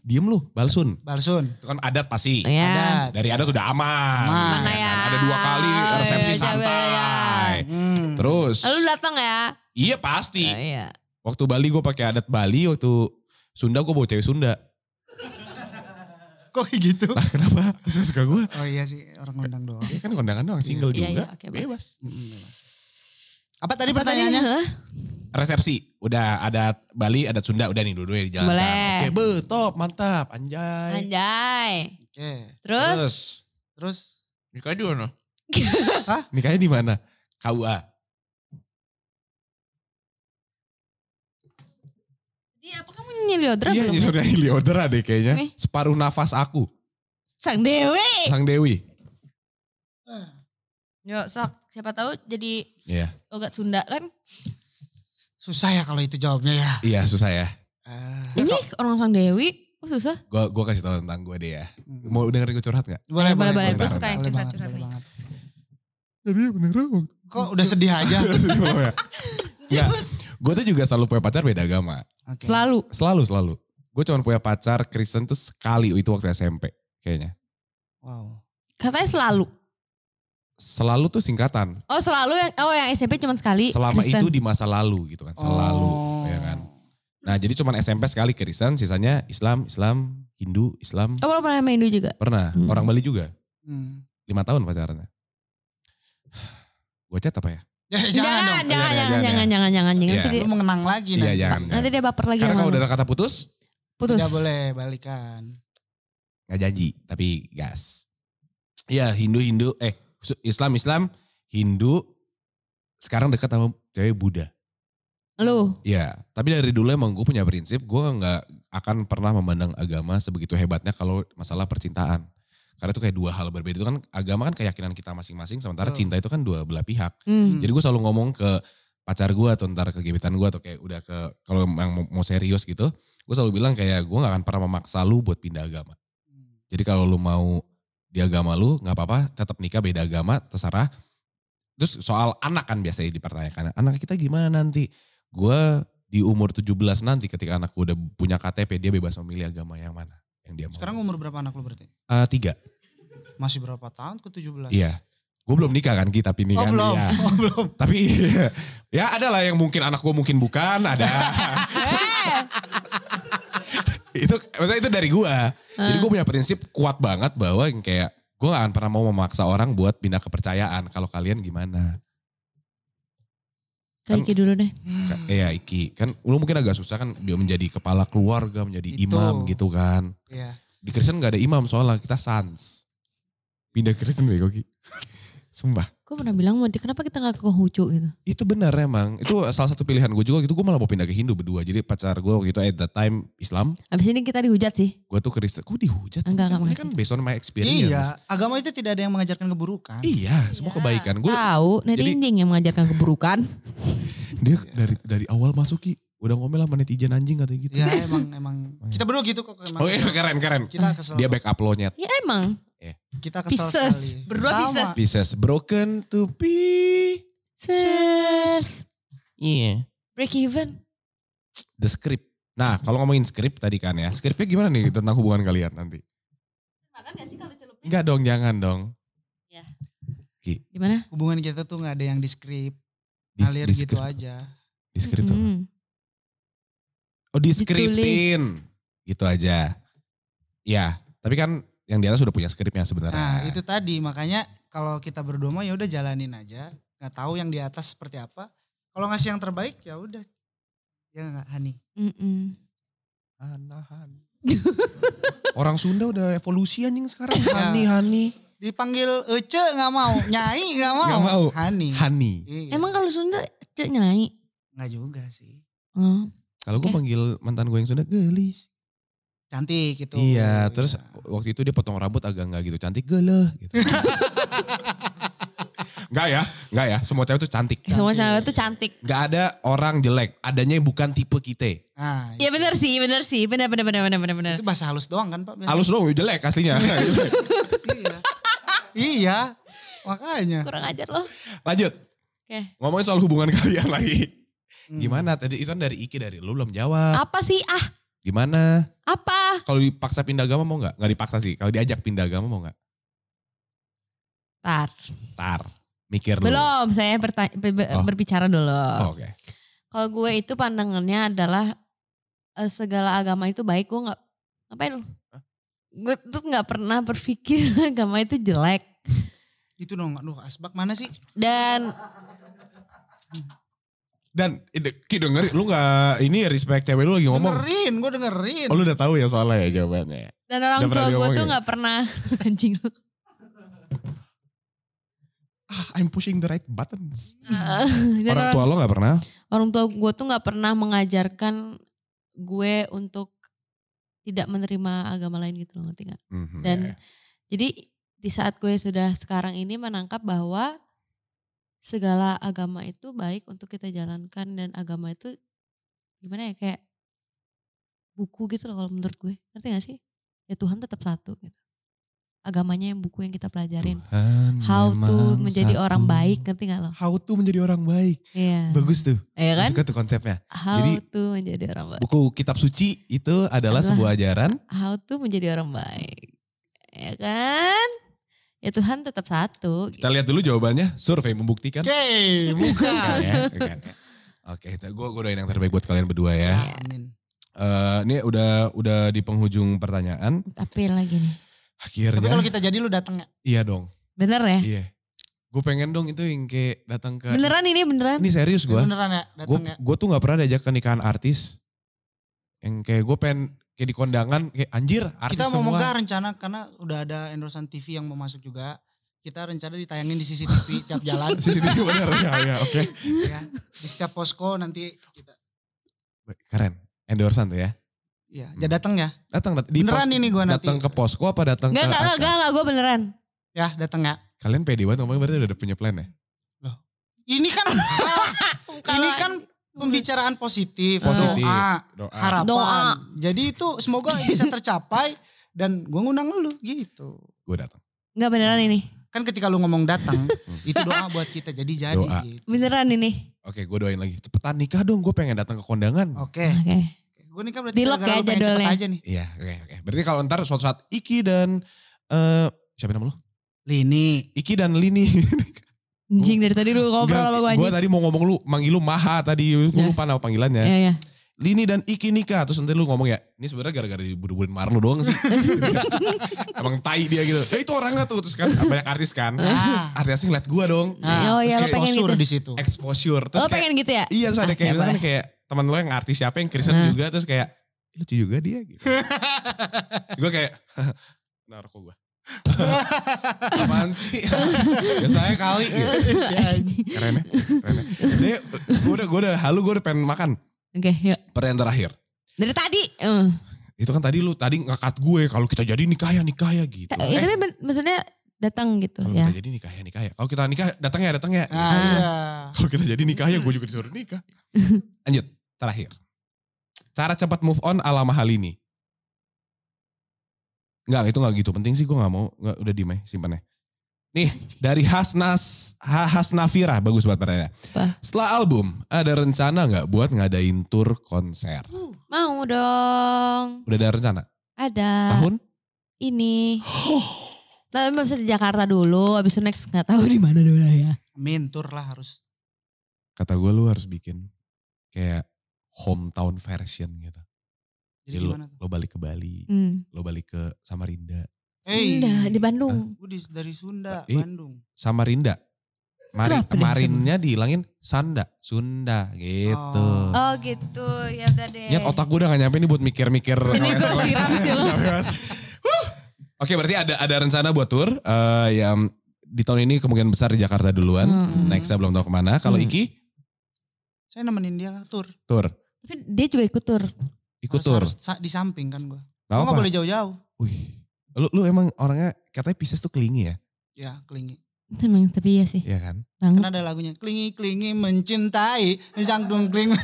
[SPEAKER 1] Diem lu, balsun.
[SPEAKER 2] Balsun.
[SPEAKER 1] Itu kan adat pasti.
[SPEAKER 3] Ya.
[SPEAKER 2] Adat.
[SPEAKER 1] Dari adat udah aman.
[SPEAKER 2] Aman.
[SPEAKER 1] kan?
[SPEAKER 3] Mana ya?
[SPEAKER 1] Ada dua kali resepsi
[SPEAKER 3] Oh, iya,
[SPEAKER 1] santai.
[SPEAKER 2] Hmm.
[SPEAKER 1] Eh, Terus,
[SPEAKER 3] Lu datang ya?
[SPEAKER 1] iya pasti.
[SPEAKER 3] Oh, iya.
[SPEAKER 1] Waktu Bali gue pakai adat Bali, waktu Sunda gue bawa cewek Sunda.
[SPEAKER 2] Kok kayak gitu?
[SPEAKER 1] Lah kenapa? Suka suka gue.
[SPEAKER 2] Oh iya sih, orang ngundang doang.
[SPEAKER 1] Ya kan kondangan doang, single
[SPEAKER 3] Iya,
[SPEAKER 1] juga.
[SPEAKER 3] iya, oke, boleh.
[SPEAKER 1] Bebas.
[SPEAKER 2] Apa tadi
[SPEAKER 3] Apa tadi?
[SPEAKER 2] pertanyaannya?
[SPEAKER 3] Hah?
[SPEAKER 1] Resepsi, udah adat Bali, adat Sunda, udah nih dua-duanya dijalankan.
[SPEAKER 3] Boleh.
[SPEAKER 1] Oke, be, top, mantap, anjay.
[SPEAKER 3] Anjay.
[SPEAKER 2] Oke.
[SPEAKER 3] Terus?
[SPEAKER 2] Terus
[SPEAKER 1] Nikah di mana? Hah? Nikahnya di mana? KUA.
[SPEAKER 3] Di apa kamu nyeliodra
[SPEAKER 1] Iya,
[SPEAKER 3] belum? ya? Eh.
[SPEAKER 1] nyusul dari Leodra deh kayaknya.
[SPEAKER 3] Nih.
[SPEAKER 1] Separuh nafas aku.
[SPEAKER 3] Sang Dewi.
[SPEAKER 1] Sang Dewi.
[SPEAKER 3] Yuk sok, siapa tahu jadi
[SPEAKER 1] Iya.
[SPEAKER 3] logat Sunda kan?
[SPEAKER 2] susah ya kalau itu jawabnya ya.
[SPEAKER 1] Iya, susah ya.
[SPEAKER 2] Eh,
[SPEAKER 3] Ini orang Sang Dewi, oh, susah.
[SPEAKER 1] Gua gua kasih tahu tentang gua deh ya.
[SPEAKER 2] hmm.
[SPEAKER 1] Mau dengerin gue curhat gak?
[SPEAKER 2] boleh,
[SPEAKER 3] Eh, boleh, boleh.
[SPEAKER 1] Gua suka
[SPEAKER 2] Boleh
[SPEAKER 3] yang
[SPEAKER 2] banget,
[SPEAKER 3] curhat-curhat
[SPEAKER 2] boleh
[SPEAKER 3] nih.
[SPEAKER 2] banget.
[SPEAKER 1] Tapi bener
[SPEAKER 2] Kok udah sedih aja?
[SPEAKER 1] Enggak. Gue ya. tuh juga selalu punya pacar beda agama.
[SPEAKER 2] Oke.
[SPEAKER 3] Selalu.
[SPEAKER 1] Selalu, selalu. Gue cuma punya pacar Kristen tuh sekali itu waktu SMP kayaknya.
[SPEAKER 2] Wow.
[SPEAKER 3] Katanya selalu.
[SPEAKER 1] Selalu tuh singkatan.
[SPEAKER 3] Oh selalu yang oh yang SMP cuma sekali.
[SPEAKER 1] Selama
[SPEAKER 3] Kristen.
[SPEAKER 1] itu di masa lalu gitu kan. Selalu.
[SPEAKER 2] Oh.
[SPEAKER 1] Ya kan. Nah jadi cuman SMP sekali Kristen sisanya Islam, Islam, Hindu, Islam.
[SPEAKER 3] Oh lo pernah sama Hindu juga?
[SPEAKER 1] Pernah.
[SPEAKER 3] Hmm.
[SPEAKER 1] Orang Bali juga.
[SPEAKER 2] Hmm.
[SPEAKER 1] lima tahun pacarannya. Gue chat apa ya?
[SPEAKER 2] Ya, jangan,
[SPEAKER 3] Jangan, jangan,
[SPEAKER 2] dong.
[SPEAKER 1] Jangan,
[SPEAKER 3] jangan, jangan,
[SPEAKER 1] jangan,
[SPEAKER 3] jangan, jangan, jangan.
[SPEAKER 1] Iya.
[SPEAKER 3] Nanti
[SPEAKER 2] Lu
[SPEAKER 3] dia-
[SPEAKER 2] mengenang lagi
[SPEAKER 1] Iya
[SPEAKER 2] nanti.
[SPEAKER 1] jangan. jangan.
[SPEAKER 3] Nanti dia baper lagi
[SPEAKER 1] Karena
[SPEAKER 3] sama
[SPEAKER 1] kalau
[SPEAKER 3] lu.
[SPEAKER 1] udah ada kata putus,
[SPEAKER 3] Putus.
[SPEAKER 2] Tidak boleh balikan.
[SPEAKER 1] nggak janji, tapi gas. Iya Hindu Hindu, eh Islam Islam Hindu. Sekarang dekat sama cewek Buddha.
[SPEAKER 3] Lu.
[SPEAKER 1] Iya, tapi dari dulu emang gue punya prinsip, gue nggak akan pernah memandang agama sebegitu hebatnya kalau masalah percintaan. Karena itu kayak dua hal berbeda itu kan agama kan keyakinan kita masing-masing, sementara
[SPEAKER 2] Betul.
[SPEAKER 1] cinta itu kan dua belah pihak.
[SPEAKER 3] Hmm.
[SPEAKER 1] Jadi gue selalu ngomong ke pacar gue atau ntar ke gebetan gue atau kayak udah ke kalau emang mau- mau serius gitu, gue selalu bilang kayak gue gak akan pernah memaksa lu buat pindah agama.
[SPEAKER 2] Hmm.
[SPEAKER 1] Jadi kalau lu mau di agama lu nggak apa-apa, tetap nikah beda agama terserah. Terus soal anak kan biasanya dipertanyakan, anak kita gimana nanti? Gue di umur 17 nanti ketika anakku udah punya KTP dia bebas memilih agama yang mana yang dia mau.
[SPEAKER 2] Sekarang umur berapa anak lu berarti?
[SPEAKER 1] Eh, tiga.
[SPEAKER 2] Masih berapa tahun ke 17?
[SPEAKER 1] Iya. Gue belum nikah kan kita tapi ini
[SPEAKER 2] Oh
[SPEAKER 1] kan.
[SPEAKER 2] belum,
[SPEAKER 1] Iya.
[SPEAKER 2] oh belum.
[SPEAKER 1] Tapi ya ada lah yang mungkin anak gue mungkin bukan ada. itu maksudnya itu dari gue. Jadi
[SPEAKER 2] Eh.
[SPEAKER 1] gue punya prinsip kuat banget bahwa yang kayak gue gak akan pernah mau memaksa orang buat pindah kepercayaan. Kalau kalian gimana?
[SPEAKER 3] Kayak Iki dulu deh.
[SPEAKER 1] Ka- Iya Iki kan lu mungkin agak susah kan dia menjadi kepala keluarga menjadi
[SPEAKER 2] Itu.
[SPEAKER 1] imam gitu kan.
[SPEAKER 2] Iya.
[SPEAKER 1] Di Kristen gak ada imam soalnya kita sans. Pindah Kristen bego Ki. Sumpah.
[SPEAKER 3] Gue pernah bilang sama dia, kenapa kita gak ke Konghucu gitu.
[SPEAKER 1] Itu benar emang. Itu salah satu pilihan gue juga gitu. Gue malah mau pindah ke Hindu berdua. Jadi pacar gue waktu itu at that time Islam.
[SPEAKER 3] Abis ini kita dihujat sih.
[SPEAKER 1] Gue tuh Kristen. Gue dihujat.
[SPEAKER 3] Enggak,
[SPEAKER 1] Kan
[SPEAKER 3] enggak,
[SPEAKER 1] Ini kan based on my experience.
[SPEAKER 2] Iya, agama itu tidak ada yang mengajarkan keburukan.
[SPEAKER 1] Iya, semua
[SPEAKER 4] Iya.
[SPEAKER 1] kebaikan. Gue
[SPEAKER 3] Tahu,
[SPEAKER 1] jadi-
[SPEAKER 3] netizen yang mengajarkan keburukan.
[SPEAKER 1] dia dari dari awal masuk Ki. Udah ngomel sama netizen anjing katanya gitu.
[SPEAKER 2] Ya emang emang
[SPEAKER 1] Oh, iya.
[SPEAKER 2] kita berdua gitu kok emang.
[SPEAKER 1] Oke keren keren.
[SPEAKER 2] Kita kesel.
[SPEAKER 1] iya, kan? Dia back up lo-nya
[SPEAKER 3] ya emang.
[SPEAKER 2] kita kesel
[SPEAKER 3] Pisces.
[SPEAKER 2] sekali.
[SPEAKER 4] Berdua
[SPEAKER 2] Sama.
[SPEAKER 4] Pisces.
[SPEAKER 1] Pieces broken to be.
[SPEAKER 3] Ses.
[SPEAKER 1] Iya.
[SPEAKER 3] Break even.
[SPEAKER 1] The script. Nah,
[SPEAKER 2] Iya.
[SPEAKER 1] kalau ngomongin script tadi kan ya. Skripnya gimana nih tentang hubungan kalian nanti?
[SPEAKER 4] Makan gak sih kalau celupnya?
[SPEAKER 1] Enggak dong, jangan dong.
[SPEAKER 3] Gimana?
[SPEAKER 2] Hubungan kita tuh nggak ada yang di skrip,
[SPEAKER 1] Di,
[SPEAKER 2] ngalir
[SPEAKER 1] di
[SPEAKER 2] gitu
[SPEAKER 1] script-
[SPEAKER 2] aja.
[SPEAKER 1] Di script apa?
[SPEAKER 3] Mm.
[SPEAKER 1] Oh, di scriptin. Gitu aja. Ya, tapi kan yang di atas sudah punya skripnya sebenarnya.
[SPEAKER 2] Nah itu tadi makanya kalau kita berdua mah ya udah jalanin aja. Nggak tahu yang di atas seperti apa. Kalau ngasih yang terbaik ya udah. Ya nggak Hani.
[SPEAKER 3] Mm-mm.
[SPEAKER 1] Anahan. Orang Sunda udah evolusi anjing sekarang.
[SPEAKER 2] Iya.
[SPEAKER 1] Hani, Hani.
[SPEAKER 2] Dipanggil Ece nggak mau, Nyai nggak mau.
[SPEAKER 1] Nggak mau.
[SPEAKER 2] Hani.
[SPEAKER 1] Hani.
[SPEAKER 2] Iya.
[SPEAKER 3] Emang kalau Sunda cek nyai.
[SPEAKER 2] nggak juga sih.
[SPEAKER 3] Oh.
[SPEAKER 1] Kalau gue
[SPEAKER 3] Eh.
[SPEAKER 1] panggil mantan gue yang Sunda, gelis.
[SPEAKER 2] Cantik gitu.
[SPEAKER 1] Iya, terus
[SPEAKER 2] Iya.
[SPEAKER 1] waktu itu dia potong rambut agak nggak gitu cantik geleh gitu. Enggak ya, enggak ya. Semua cewek tuh cantik.
[SPEAKER 3] Semua cewek tuh cantik.
[SPEAKER 1] Enggak ada orang jelek, adanya yang bukan tipe kita.
[SPEAKER 2] Nah,
[SPEAKER 3] Ya benar sih, benar sih. Benar benar benar benar benar benar.
[SPEAKER 2] Itu bahasa halus doang kan Pak? biasanya?
[SPEAKER 1] Halus dong, jelek aslinya.
[SPEAKER 2] iya. iya. Makanya.
[SPEAKER 3] Kurang ajar loh.
[SPEAKER 1] Lanjut.
[SPEAKER 3] Oke.
[SPEAKER 1] Ngomongin soal hubungan kalian lagi.
[SPEAKER 2] Hmm.
[SPEAKER 1] Gimana tadi itu kan dari Iki dari lu belum jawab.
[SPEAKER 3] Apa sih? Ah,
[SPEAKER 1] Gimana?
[SPEAKER 3] apa?
[SPEAKER 1] Kalau dipaksa pindah agama mau nggak? Nggak dipaksa sih. Kalau diajak pindah agama mau nggak?
[SPEAKER 3] Tar.
[SPEAKER 1] Tar. Mikir dulu.
[SPEAKER 3] Belum, saya berta- be- be-
[SPEAKER 1] Oh.
[SPEAKER 3] berbicara dulu.
[SPEAKER 1] Oh, Oke.
[SPEAKER 3] Kalau gue itu pandangannya adalah eh, segala agama itu baik, gue nggak ngapain lu? Gue tuh nggak pernah berpikir agama itu jelek
[SPEAKER 2] Itu dong, aduh asbak mana sih?
[SPEAKER 3] dan
[SPEAKER 1] Dan ide- Ki dengerin lu nggak ini respect cewek lu lagi ngomong.
[SPEAKER 2] Dengerin, gue dengerin.
[SPEAKER 1] Oh lu udah tahu ya soalnya ya jawabannya.
[SPEAKER 3] dan orang
[SPEAKER 1] Udah pernah
[SPEAKER 3] tua gue
[SPEAKER 1] diomongin
[SPEAKER 3] tuh
[SPEAKER 1] ya?
[SPEAKER 3] nggak pernah anjing lu.
[SPEAKER 1] Ah, I'm pushing the right buttons.
[SPEAKER 3] Dan
[SPEAKER 1] Orang
[SPEAKER 3] orang,
[SPEAKER 1] tua lo gak pernah?
[SPEAKER 3] orang tua gue tuh nggak pernah mengajarkan gue untuk tidak menerima agama lain gitu loh ngerti gak?
[SPEAKER 1] Mhm,
[SPEAKER 3] Dan
[SPEAKER 1] ya, ya.
[SPEAKER 3] jadi di saat gue sudah sekarang ini menangkap bahwa segala agama itu baik untuk kita jalankan dan agama itu gimana ya kayak buku gitu loh kalau menurut gue. Ngerti gak sih? Ya Tuhan tetap satu gitu. Agamanya yang buku yang kita pelajarin.
[SPEAKER 1] Tuhan
[SPEAKER 3] How to
[SPEAKER 1] memang
[SPEAKER 3] menjadi
[SPEAKER 1] satu.
[SPEAKER 3] orang baik, ngerti gak lo?
[SPEAKER 1] How to menjadi orang baik.
[SPEAKER 3] Iya.
[SPEAKER 1] Bagus tuh.
[SPEAKER 3] Iya kan?
[SPEAKER 1] Gue Suka tuh konsepnya.
[SPEAKER 3] How
[SPEAKER 1] Jadi-
[SPEAKER 3] to menjadi orang baik.
[SPEAKER 1] Buku kitab suci itu adalah
[SPEAKER 3] Adalah.
[SPEAKER 1] sebuah ajaran.
[SPEAKER 3] How to menjadi orang baik. Ya kan? Ya Tuhan tetap satu. gitu.
[SPEAKER 1] Kita lihat dulu jawabannya. Survei membuktikan.
[SPEAKER 2] Oke, bukan.
[SPEAKER 1] Bukan ya, bukan ya. Oke, gue doain yang terbaik buat kalian berdua ya.
[SPEAKER 3] Iya.
[SPEAKER 2] Amin.
[SPEAKER 1] Eh, ini udah udah di penghujung pertanyaan.
[SPEAKER 3] Tapi lagi nih.
[SPEAKER 2] Tapi kalau
[SPEAKER 1] Akhirnya,
[SPEAKER 2] kita jadi lu datang ya?
[SPEAKER 1] iya dong.
[SPEAKER 3] Bener ya?
[SPEAKER 1] Iya. Gue pengen dong itu yang kayak datang ke.
[SPEAKER 3] Beneran ini beneran.
[SPEAKER 1] Ini serius gue.
[SPEAKER 2] Beneran ya,
[SPEAKER 1] gue
[SPEAKER 2] datang ya?
[SPEAKER 1] gue tuh nggak pernah diajak ke nikahan artis yang kayak gue pengen kayak di kondangan kayak anjir artis
[SPEAKER 2] Kita mau
[SPEAKER 1] semua
[SPEAKER 2] megah rencana karena udah ada endorsean TV yang mau masuk juga. Kita rencana ditayangin di CCTV tiap jalan.
[SPEAKER 1] CCTV bener ya, ya oke
[SPEAKER 2] ya. Di setiap posko nanti kita.
[SPEAKER 1] keren endorsean tuh ya
[SPEAKER 2] Ya, ya datang ya.
[SPEAKER 1] datang dat- di
[SPEAKER 2] Beneran
[SPEAKER 1] pos-
[SPEAKER 2] ini gue nanti.
[SPEAKER 1] datang ke posko apa datang ke
[SPEAKER 3] Enggak, enggak, enggak,
[SPEAKER 1] Aka?
[SPEAKER 3] enggak, gue beneran.
[SPEAKER 2] Ya, datang ya.
[SPEAKER 1] kalian pede banget ngomongnya berarti udah ada punya plan ya
[SPEAKER 2] Ini kan ini kan pembicaraan positif,
[SPEAKER 1] Positif. Ah.
[SPEAKER 2] doa,
[SPEAKER 1] Doa.
[SPEAKER 2] harapan.
[SPEAKER 3] Doa.
[SPEAKER 2] Jadi itu semoga bisa tercapai dan gue ngundang lu gitu.
[SPEAKER 1] gue datang
[SPEAKER 3] Enggak beneran ini.
[SPEAKER 2] Kan ketika lu ngomong datang, itu doa buat kita jadi jadi.
[SPEAKER 1] Doa.
[SPEAKER 2] gitu.
[SPEAKER 3] Beneran ini.
[SPEAKER 1] Oke gue doain lagi. Cepetan nikah dong gue pengen datang ke kondangan.
[SPEAKER 2] Oke.
[SPEAKER 3] Oke.
[SPEAKER 2] Gue nikah berarti
[SPEAKER 3] Di lock
[SPEAKER 2] gara-gara lu
[SPEAKER 3] ya
[SPEAKER 2] pengen cepet
[SPEAKER 3] jadwalnya.
[SPEAKER 2] aja nih.
[SPEAKER 1] Iya oke oke. Berarti kalau ntar suatu saat Iki dan... eh siapa nama lu?
[SPEAKER 2] Lini.
[SPEAKER 1] Iki dan Lini.
[SPEAKER 3] Anjing dari tadi lu ngobrol sama
[SPEAKER 1] gue
[SPEAKER 3] gue anjing.
[SPEAKER 1] tadi mau ngomong lu, manggil lu Maha tadi. Gue
[SPEAKER 3] Ya.
[SPEAKER 1] lupa nama panggilannya.
[SPEAKER 3] Iya, iya.
[SPEAKER 1] Lini dan Iki nikah terus nanti lu ngomong ya ini sebenarnya gara-gara diburu-buruin Marlo doang sih emang tai dia gitu ya itu orangnya tuh terus kan banyak artis kan
[SPEAKER 2] Ah.
[SPEAKER 1] artisnya ngeliat gua dong
[SPEAKER 3] Oh
[SPEAKER 2] Nah,
[SPEAKER 3] iya,
[SPEAKER 2] terus
[SPEAKER 1] lo pengen
[SPEAKER 2] exposure
[SPEAKER 3] gitu.
[SPEAKER 2] di situ.
[SPEAKER 1] exposure terus
[SPEAKER 3] Lo
[SPEAKER 1] kayak,
[SPEAKER 3] pengen gitu ya?
[SPEAKER 1] iya terus ada
[SPEAKER 3] Ah,
[SPEAKER 1] kayak
[SPEAKER 3] ya
[SPEAKER 1] misalkan
[SPEAKER 3] boleh.
[SPEAKER 1] kayak teman lo yang artis siapa yang Kristen
[SPEAKER 3] Nah.
[SPEAKER 1] juga terus kayak lucu juga dia gitu Terus gua kayak narko gua apaan sih biasanya kali gitu keren ya keren ya Jadi, gua udah gua udah halu gua udah pengen makan
[SPEAKER 3] Oke, yuk.
[SPEAKER 1] pertanyaan terakhir
[SPEAKER 3] Dari tadi. eh.
[SPEAKER 1] itu kan tadi lu tadi ngangkat gue kalau kita jadi nikah ya nikah ya gitu.
[SPEAKER 3] Ta-
[SPEAKER 1] Eh,
[SPEAKER 3] Itu tapi ben- maksudnya datang gitu
[SPEAKER 1] kalau
[SPEAKER 3] ya.
[SPEAKER 1] kita jadi nikah ya nikah ya. Kalau kita nikah datang ya datang ya.
[SPEAKER 2] Ah,
[SPEAKER 3] Ah.
[SPEAKER 2] iya.
[SPEAKER 1] Kalau kita jadi nikah ya gue juga disuruh nikah. Lanjut terakhir. Cara cepat move on ala mahal ini. Enggak itu enggak gitu penting sih gue nggak mau nggak udah diem ya simpan ya. Nih dari Hasnas Ha- Hasnafira bagus banget pertanyaannya.
[SPEAKER 3] Apa?
[SPEAKER 1] Setelah album ada rencana nggak buat ngadain tour konser?
[SPEAKER 3] Mau dong.
[SPEAKER 1] Udah ada rencana?
[SPEAKER 3] Ada.
[SPEAKER 1] Tahun?
[SPEAKER 3] Ini. Tapi bisa di Jakarta dulu, abis itu next nggak tahu di mana dulu ya.
[SPEAKER 2] Mentor lah harus.
[SPEAKER 1] kata gue lu harus bikin kayak hometown version gitu.
[SPEAKER 2] Jadi
[SPEAKER 1] Jadi lo,
[SPEAKER 2] gimana tuh?
[SPEAKER 1] lo balik ke Bali,
[SPEAKER 3] Hmm.
[SPEAKER 1] lo balik ke Samarinda.
[SPEAKER 2] Eh,
[SPEAKER 3] Sunda, di Bandung.
[SPEAKER 2] Gue di- dari Sunda,
[SPEAKER 1] Eh.
[SPEAKER 2] Bandung.
[SPEAKER 1] Samarinda. Mari,
[SPEAKER 3] Kenapa deh?
[SPEAKER 1] marinnya dihilangin Sanda, Sunda gitu.
[SPEAKER 2] Oh.
[SPEAKER 3] Oh gitu, ya udah deh.
[SPEAKER 1] Nyet otak gue udah gak nyampe nih buat mikir-mikir.
[SPEAKER 3] Ini gue siram sih lo.
[SPEAKER 1] Huh. Oke berarti ada ada rencana buat tour. eh, ya, di tahun ini kemungkinan besar di Jakarta
[SPEAKER 2] Kan?
[SPEAKER 1] duluan.
[SPEAKER 3] Hmm.
[SPEAKER 1] Nextnya belum tahu kemana. Kalau
[SPEAKER 3] Hmm.
[SPEAKER 1] Iki,
[SPEAKER 2] Saya nemenin dia tur.
[SPEAKER 1] tour.
[SPEAKER 3] Tapi dia juga ikut tur.
[SPEAKER 1] Ikut
[SPEAKER 2] Harus-
[SPEAKER 1] tour.
[SPEAKER 2] harus sa- di samping kan gue.
[SPEAKER 1] Gak
[SPEAKER 2] Gue gak
[SPEAKER 1] apa.
[SPEAKER 2] boleh jauh-jauh.
[SPEAKER 1] Wih. Lu, lu emang orangnya katanya Pisces tuh kelingi ya?
[SPEAKER 2] Ya, kelingi.
[SPEAKER 3] Emang, tapi iya sih.
[SPEAKER 1] Iya kan?
[SPEAKER 2] Kan
[SPEAKER 3] Banget.
[SPEAKER 2] ada lagunya. Kelingi-kelingi mencintai. Jangdung keling.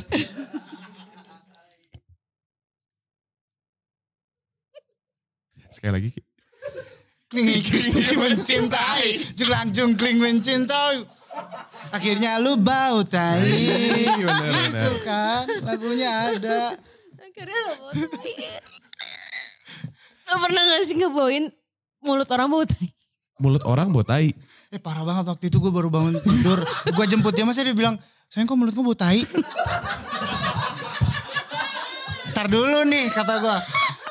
[SPEAKER 1] Sekali lagi. Ki.
[SPEAKER 2] Kelingi-kelingi mencintai. Junglang keling mencintai. Akhirnya lu bau tai.
[SPEAKER 1] bener, bener.
[SPEAKER 2] Itu kan lagunya ada.
[SPEAKER 4] Akhirnya lo mau sakit.
[SPEAKER 3] Lo pernah gak sih ngebawain mulut orang bau tai?
[SPEAKER 1] Mulut orang buat tai.
[SPEAKER 2] Eh parah banget waktu itu gue baru bangun tidur. gue jemput dia masih dia bilang, sayang kok mulut gue bau tai. Tar dulu nih kata gue.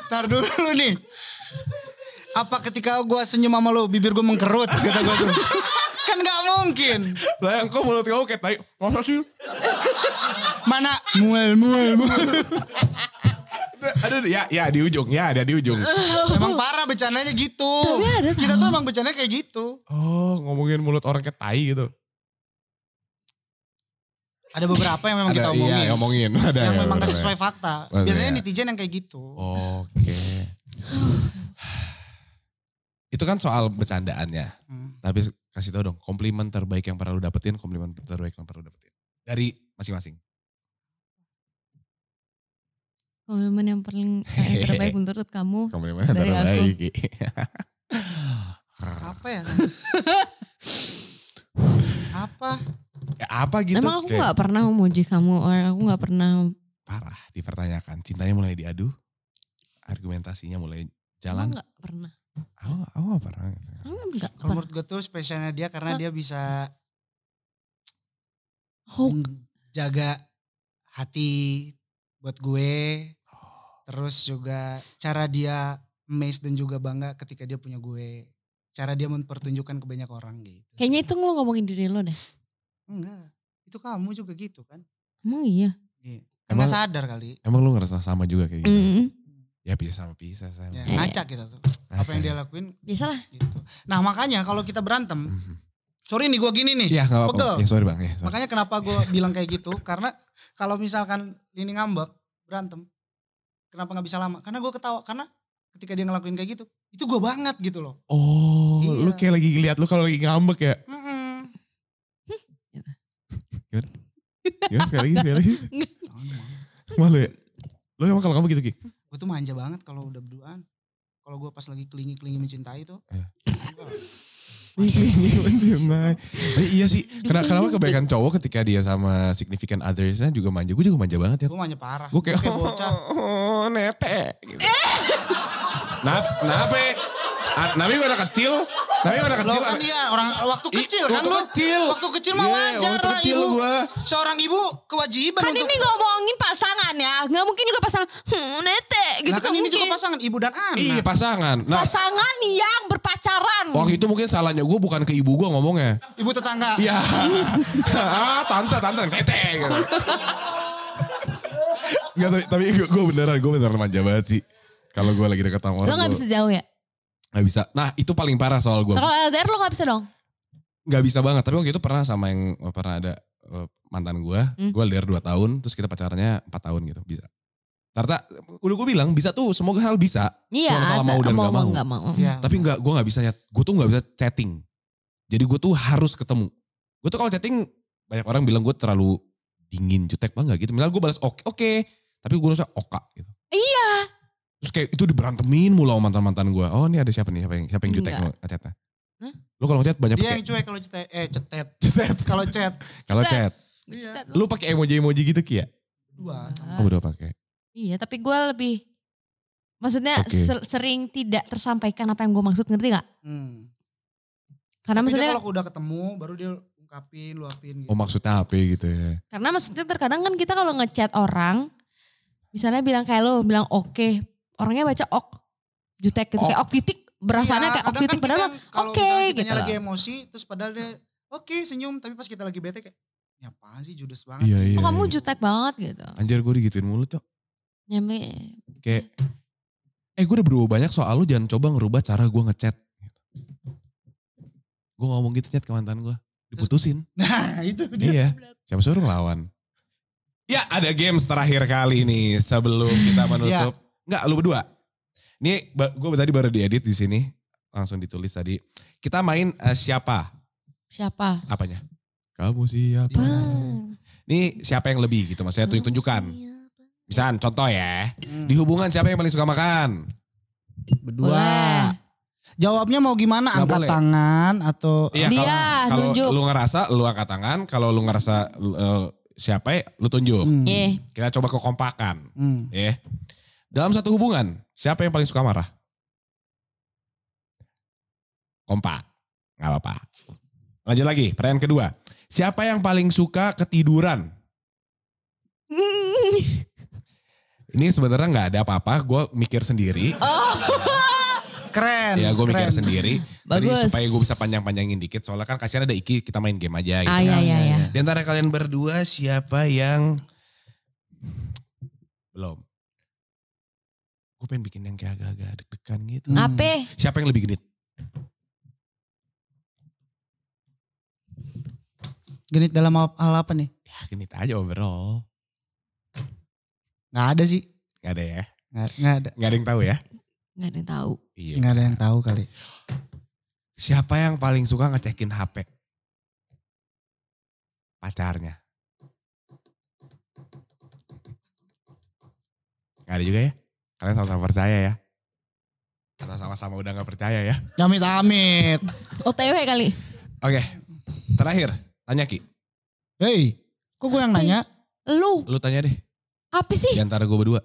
[SPEAKER 2] Tar dulu nih. Apa ketika gue senyum sama lo bibir gue mengkerut kata gue tuh. kan gak mungkin.
[SPEAKER 1] Lah yang kok mulut kamu kayak tai. Masa sih?
[SPEAKER 2] Mana mual mual mual.
[SPEAKER 1] Aduh ya ya di ujung ya ada di ujung.
[SPEAKER 2] Emang parah bercandanya gitu.
[SPEAKER 3] Tapi ada kan?
[SPEAKER 2] Kita tuh emang bercandanya kayak gitu.
[SPEAKER 1] Oh ngomongin mulut orang kayak tai gitu.
[SPEAKER 2] Ada beberapa yang memang kita omongin.
[SPEAKER 1] Iya ngomongin. Ada.
[SPEAKER 2] yang
[SPEAKER 1] ya,
[SPEAKER 2] memang
[SPEAKER 1] bener,
[SPEAKER 2] gak sesuai
[SPEAKER 1] ya. Oh.
[SPEAKER 2] fakta.
[SPEAKER 1] Bener.
[SPEAKER 2] Biasanya netizen yang kayak gitu.
[SPEAKER 1] Oke. Itu kan soal bercandaannya.
[SPEAKER 2] Hmm.
[SPEAKER 1] Tapi kasih tau dong komplimen terbaik yang pernah lu dapetin, komplimen terbaik yang pernah lu dapetin. Dari masing-masing.
[SPEAKER 3] Momen yang paling yang terbaik menurut kamu.
[SPEAKER 1] Komplimen
[SPEAKER 3] Dari
[SPEAKER 1] terbaik. Ki.
[SPEAKER 2] Apa ya? Apa?
[SPEAKER 1] Ya, Apa gitu?
[SPEAKER 3] Emang aku
[SPEAKER 1] Kayak-
[SPEAKER 3] nggak pernah memuji kamu, or aku nggak pernah.
[SPEAKER 1] parah dipertanyakan cintanya mulai diadu argumentasinya mulai jalan
[SPEAKER 3] Aku nggak pernah.
[SPEAKER 1] aku aku gak pernah
[SPEAKER 3] Aku nggak
[SPEAKER 2] Kalau
[SPEAKER 3] pernah.
[SPEAKER 2] menurut gue tuh spesialnya dia karena dia bisa
[SPEAKER 3] Oh,
[SPEAKER 2] jaga hati buat gue. Terus juga cara dia amazed dan juga bangga ketika dia punya gue. Cara dia mempertunjukkan ke banyak orang gitu.
[SPEAKER 3] kayaknya itu lo ngomongin diri lo deh.
[SPEAKER 2] Enggak, itu kamu juga gitu kan.
[SPEAKER 3] Emang iya.
[SPEAKER 2] Iya.
[SPEAKER 1] Emang-
[SPEAKER 2] Enggak sadar kali.
[SPEAKER 1] emang lu ngerasa sama juga kayak
[SPEAKER 2] Iya.
[SPEAKER 1] gitu
[SPEAKER 3] Mm.
[SPEAKER 1] ya bisa sama bisa sama
[SPEAKER 2] Ya,
[SPEAKER 3] Iya.
[SPEAKER 2] ngaca kita tuh. Apa yang dia lakuin
[SPEAKER 3] Biasalah.
[SPEAKER 2] gitu. Nah makanya kalau kita berantem. Sorry nih gue gini nih.
[SPEAKER 1] ya Mhm. nggak
[SPEAKER 2] Pegel.
[SPEAKER 1] apa-apa ya sorry bang ya sorry.
[SPEAKER 2] Makanya kenapa gue bilang kayak gitu, karena kalau misalkan ini ngambek, berantem, kenapa nggak bisa lama? Karena gue ketawa, karena ketika dia ngelakuin kayak gitu, itu gue banget gitu loh.
[SPEAKER 1] oh
[SPEAKER 2] Iya.
[SPEAKER 1] lu kayak lagi lihat lu kalau lagi ngambek ya
[SPEAKER 2] Mm-mm.
[SPEAKER 1] ya sekali lagi sekali lagi malu ya lu emang kalau kamu gitu ki
[SPEAKER 2] Gue tuh manja banget kalau udah berduaan. Kalau gue pas lagi kelingi-kelingi mencintai tuh,
[SPEAKER 1] Iya. Tapi iya sih. Kenapa, kenapa kebaikan cowok ketika dia sama significant others-nya juga manja? Gue juga manja banget ya.
[SPEAKER 2] Gue manja parah.
[SPEAKER 1] Gue kayak,
[SPEAKER 2] Gua bocah.
[SPEAKER 1] oh, nete. Gitu. Nap, nape? Ah, Nabi mana kecil? Nabi mana
[SPEAKER 2] Lo
[SPEAKER 1] kecil?
[SPEAKER 2] kan dia orang waktu
[SPEAKER 1] Ih,
[SPEAKER 2] kecil kan
[SPEAKER 1] waktu
[SPEAKER 2] lo.
[SPEAKER 1] kecil.
[SPEAKER 2] Waktu kecil mah
[SPEAKER 1] Iya,
[SPEAKER 2] wajar
[SPEAKER 1] waktu
[SPEAKER 2] lah
[SPEAKER 1] kecil
[SPEAKER 2] ibu.
[SPEAKER 1] gua.
[SPEAKER 2] Seorang ibu kewajiban
[SPEAKER 3] Kan
[SPEAKER 2] untuk.
[SPEAKER 3] ini ngomongin pasangan ya. Nggak mungkin juga pasangan. Hmm, nete. Gitu
[SPEAKER 2] Nah kan
[SPEAKER 3] nggak
[SPEAKER 2] ini juga
[SPEAKER 3] mungkin.
[SPEAKER 2] pasangan ibu dan anak.
[SPEAKER 1] Iya pasangan. Nah,
[SPEAKER 3] Pasangan yang berpacaran.
[SPEAKER 2] iya.
[SPEAKER 1] waktu itu mungkin salahnya gue bukan ke ibu gue ngomongnya.
[SPEAKER 2] Ibu tetangga.
[SPEAKER 1] Iya. ah, tante, tante, nete. Gitu. Nggak, tapi, tapi gue beneran, gue beneran manja banget sih. Kalau gue lagi deket sama orang.
[SPEAKER 3] Lo gak
[SPEAKER 1] gua-
[SPEAKER 3] bisa jauh ya?
[SPEAKER 1] Nggak bisa. Nah itu paling parah soal gue.
[SPEAKER 3] Kalau LDR lo gak bisa dong?
[SPEAKER 1] Nggak bisa banget. Tapi waktu itu pernah sama yang pernah ada eh, mantan gue.
[SPEAKER 3] Hmm.
[SPEAKER 1] Gue LDR 2 tahun. Terus kita pacarnya 4 tahun gitu. Bisa. Tarta, udah gue bilang bisa tuh. Semoga hal bisa.
[SPEAKER 3] Iya.
[SPEAKER 1] salah mau dan nggak mau.
[SPEAKER 3] nggak mau.
[SPEAKER 2] Iya.
[SPEAKER 1] Tapi nggak, gue nggak bisa. nyet- Gue tuh nggak bisa chatting. Jadi gue tuh harus ketemu. Gue tuh kalau chatting banyak orang bilang gue terlalu dingin, jutek banget nggak gitu. Misalnya gue balas oke, oke. Tapi gue rasa oka gitu.
[SPEAKER 3] Iya.
[SPEAKER 1] Terus kayak itu diberantemin mulu sama mantan-mantan gue. Oh ini ada siapa nih? Siapa yang, siapa yang jutek
[SPEAKER 3] Enggak.
[SPEAKER 1] ngechatnya?
[SPEAKER 3] Hah? Iya,
[SPEAKER 1] Lo kalau ngechat banyak
[SPEAKER 2] Dia
[SPEAKER 1] pakai
[SPEAKER 2] yang cuek kalau cetet. Eh cetet.
[SPEAKER 1] Chat.
[SPEAKER 2] Kalau chat.
[SPEAKER 1] Kalau chat,
[SPEAKER 3] Chat.
[SPEAKER 2] Iya.
[SPEAKER 1] lu pakai emoji-emoji gitu Ki ya?
[SPEAKER 2] Dua.
[SPEAKER 1] Oh, udah pakai.
[SPEAKER 3] Iya tapi gue lebih. Maksudnya
[SPEAKER 1] Oke.
[SPEAKER 3] ser- sering tidak tersampaikan apa yang gue maksud ngerti gak?
[SPEAKER 2] Hmm.
[SPEAKER 3] Karena
[SPEAKER 2] Tapi dia
[SPEAKER 3] maksudnya
[SPEAKER 2] kalau udah ketemu baru dia ungkapin, luapin gitu.
[SPEAKER 1] Oh, maksudnya HP gitu ya.
[SPEAKER 3] Karena maksudnya terkadang kan kita kalau ngechat orang, misalnya bilang kayak lo bilang oke, orangnya baca ok, jutek gitu,
[SPEAKER 1] Ok.
[SPEAKER 3] kayak ok titik, berasanya
[SPEAKER 2] Iya,
[SPEAKER 3] kayak ok
[SPEAKER 2] kadang
[SPEAKER 3] titik,
[SPEAKER 2] kan
[SPEAKER 3] padahal
[SPEAKER 2] kita yang- kalau
[SPEAKER 3] oke,
[SPEAKER 2] misalnya kitanya
[SPEAKER 3] gitu
[SPEAKER 2] lagi
[SPEAKER 3] loh.
[SPEAKER 2] emosi terus padahal dia oke senyum tapi pas kita lagi bete kayak ya apaan sih judes banget
[SPEAKER 1] Iya, iya.
[SPEAKER 3] "Oh, kamu
[SPEAKER 1] iya.
[SPEAKER 3] jutek banget gitu.
[SPEAKER 1] Anjir gue digituin mulu, Cok.
[SPEAKER 3] Nyampe,
[SPEAKER 1] Kayak eh gue udah berubah banyak soal lu jangan coba ngerubah cara gue ngechat. Gue ngomong gitu nyet ke mantan gue. Diputusin.
[SPEAKER 2] nah itu dia
[SPEAKER 1] Iya. Siapa suruh ngelawan? Ya ada games terakhir kali nih sebelum kita menutup. Enggak, lu berdua. Ini gue tadi baru diedit di sini. Langsung ditulis tadi. Kita main eh, siapa?
[SPEAKER 3] siapa?
[SPEAKER 1] Apanya? Kamu siapa?
[SPEAKER 3] Apa?
[SPEAKER 1] Ini siapa yang lebih gitu maksudnya tunjuk tunjukkan.
[SPEAKER 3] Siapa?
[SPEAKER 1] Misal contoh ya.
[SPEAKER 2] Hmm.
[SPEAKER 1] Di hubungan siapa yang paling suka makan?
[SPEAKER 2] berdua
[SPEAKER 3] Boleh.
[SPEAKER 2] jawabnya mau gimana
[SPEAKER 1] Nggak
[SPEAKER 2] angkat
[SPEAKER 1] boleh.
[SPEAKER 2] tangan atau Hmm.
[SPEAKER 1] Iya, kalau-
[SPEAKER 3] Dia,
[SPEAKER 1] kalau
[SPEAKER 3] tunjuk.
[SPEAKER 1] lu ngerasa lu angkat tangan, kalau lu ngerasa eh, siapa ya, lu tunjuk.
[SPEAKER 2] Hmm,
[SPEAKER 3] Iya.
[SPEAKER 1] Kita coba kekompakan.
[SPEAKER 2] hmm.
[SPEAKER 1] Ya. Dalam satu hubungan, siapa yang paling suka marah? Kompak. Gak apa-apa. Lanjut lagi, pertanyaan kedua. Siapa yang paling suka ketiduran? Hmm.
[SPEAKER 3] Iya.
[SPEAKER 1] Ini sebenarnya nggak ada apa-apa, gue mikir sendiri.
[SPEAKER 2] keren
[SPEAKER 1] ya gue mikir
[SPEAKER 2] keren.
[SPEAKER 1] sendiri. Jadi
[SPEAKER 3] Bagus.
[SPEAKER 1] supaya gue bisa panjang-panjangin dikit, soalnya kan kasihan ada Iki, kita main game aja gitu.
[SPEAKER 3] Ah, iya, iya, iya.
[SPEAKER 1] Di antara kalian berdua siapa yang belum? Gue pengen bikin yang kayak agak-agak deg-degan gitu.
[SPEAKER 2] Hmm.
[SPEAKER 3] Apa?
[SPEAKER 1] Siapa yang lebih genit?
[SPEAKER 2] genit dalam hal apa nih
[SPEAKER 1] Ya, genit aja overall.
[SPEAKER 2] nggak ada sih
[SPEAKER 1] Gak ada ya?
[SPEAKER 2] nggak, nggak ada
[SPEAKER 1] Gak ada yang tahu ya?
[SPEAKER 3] Gak ada yang tahu.
[SPEAKER 1] Iya.
[SPEAKER 2] nggak ada yang tahu kali
[SPEAKER 1] Siapa yang paling suka ngecekin HP? Pacarnya. Gak ada juga ya? Kalian sama-sama percaya ya? Atau sama-sama udah gak percaya ya?
[SPEAKER 2] amit amit
[SPEAKER 3] OTW kali.
[SPEAKER 1] Oke, terakhir. Tanya Ki.
[SPEAKER 2] hei kok gue yang nanya
[SPEAKER 3] Lu,
[SPEAKER 1] Lu tanya deh.
[SPEAKER 3] apa
[SPEAKER 1] Di
[SPEAKER 3] sih?
[SPEAKER 1] antara gue berdua.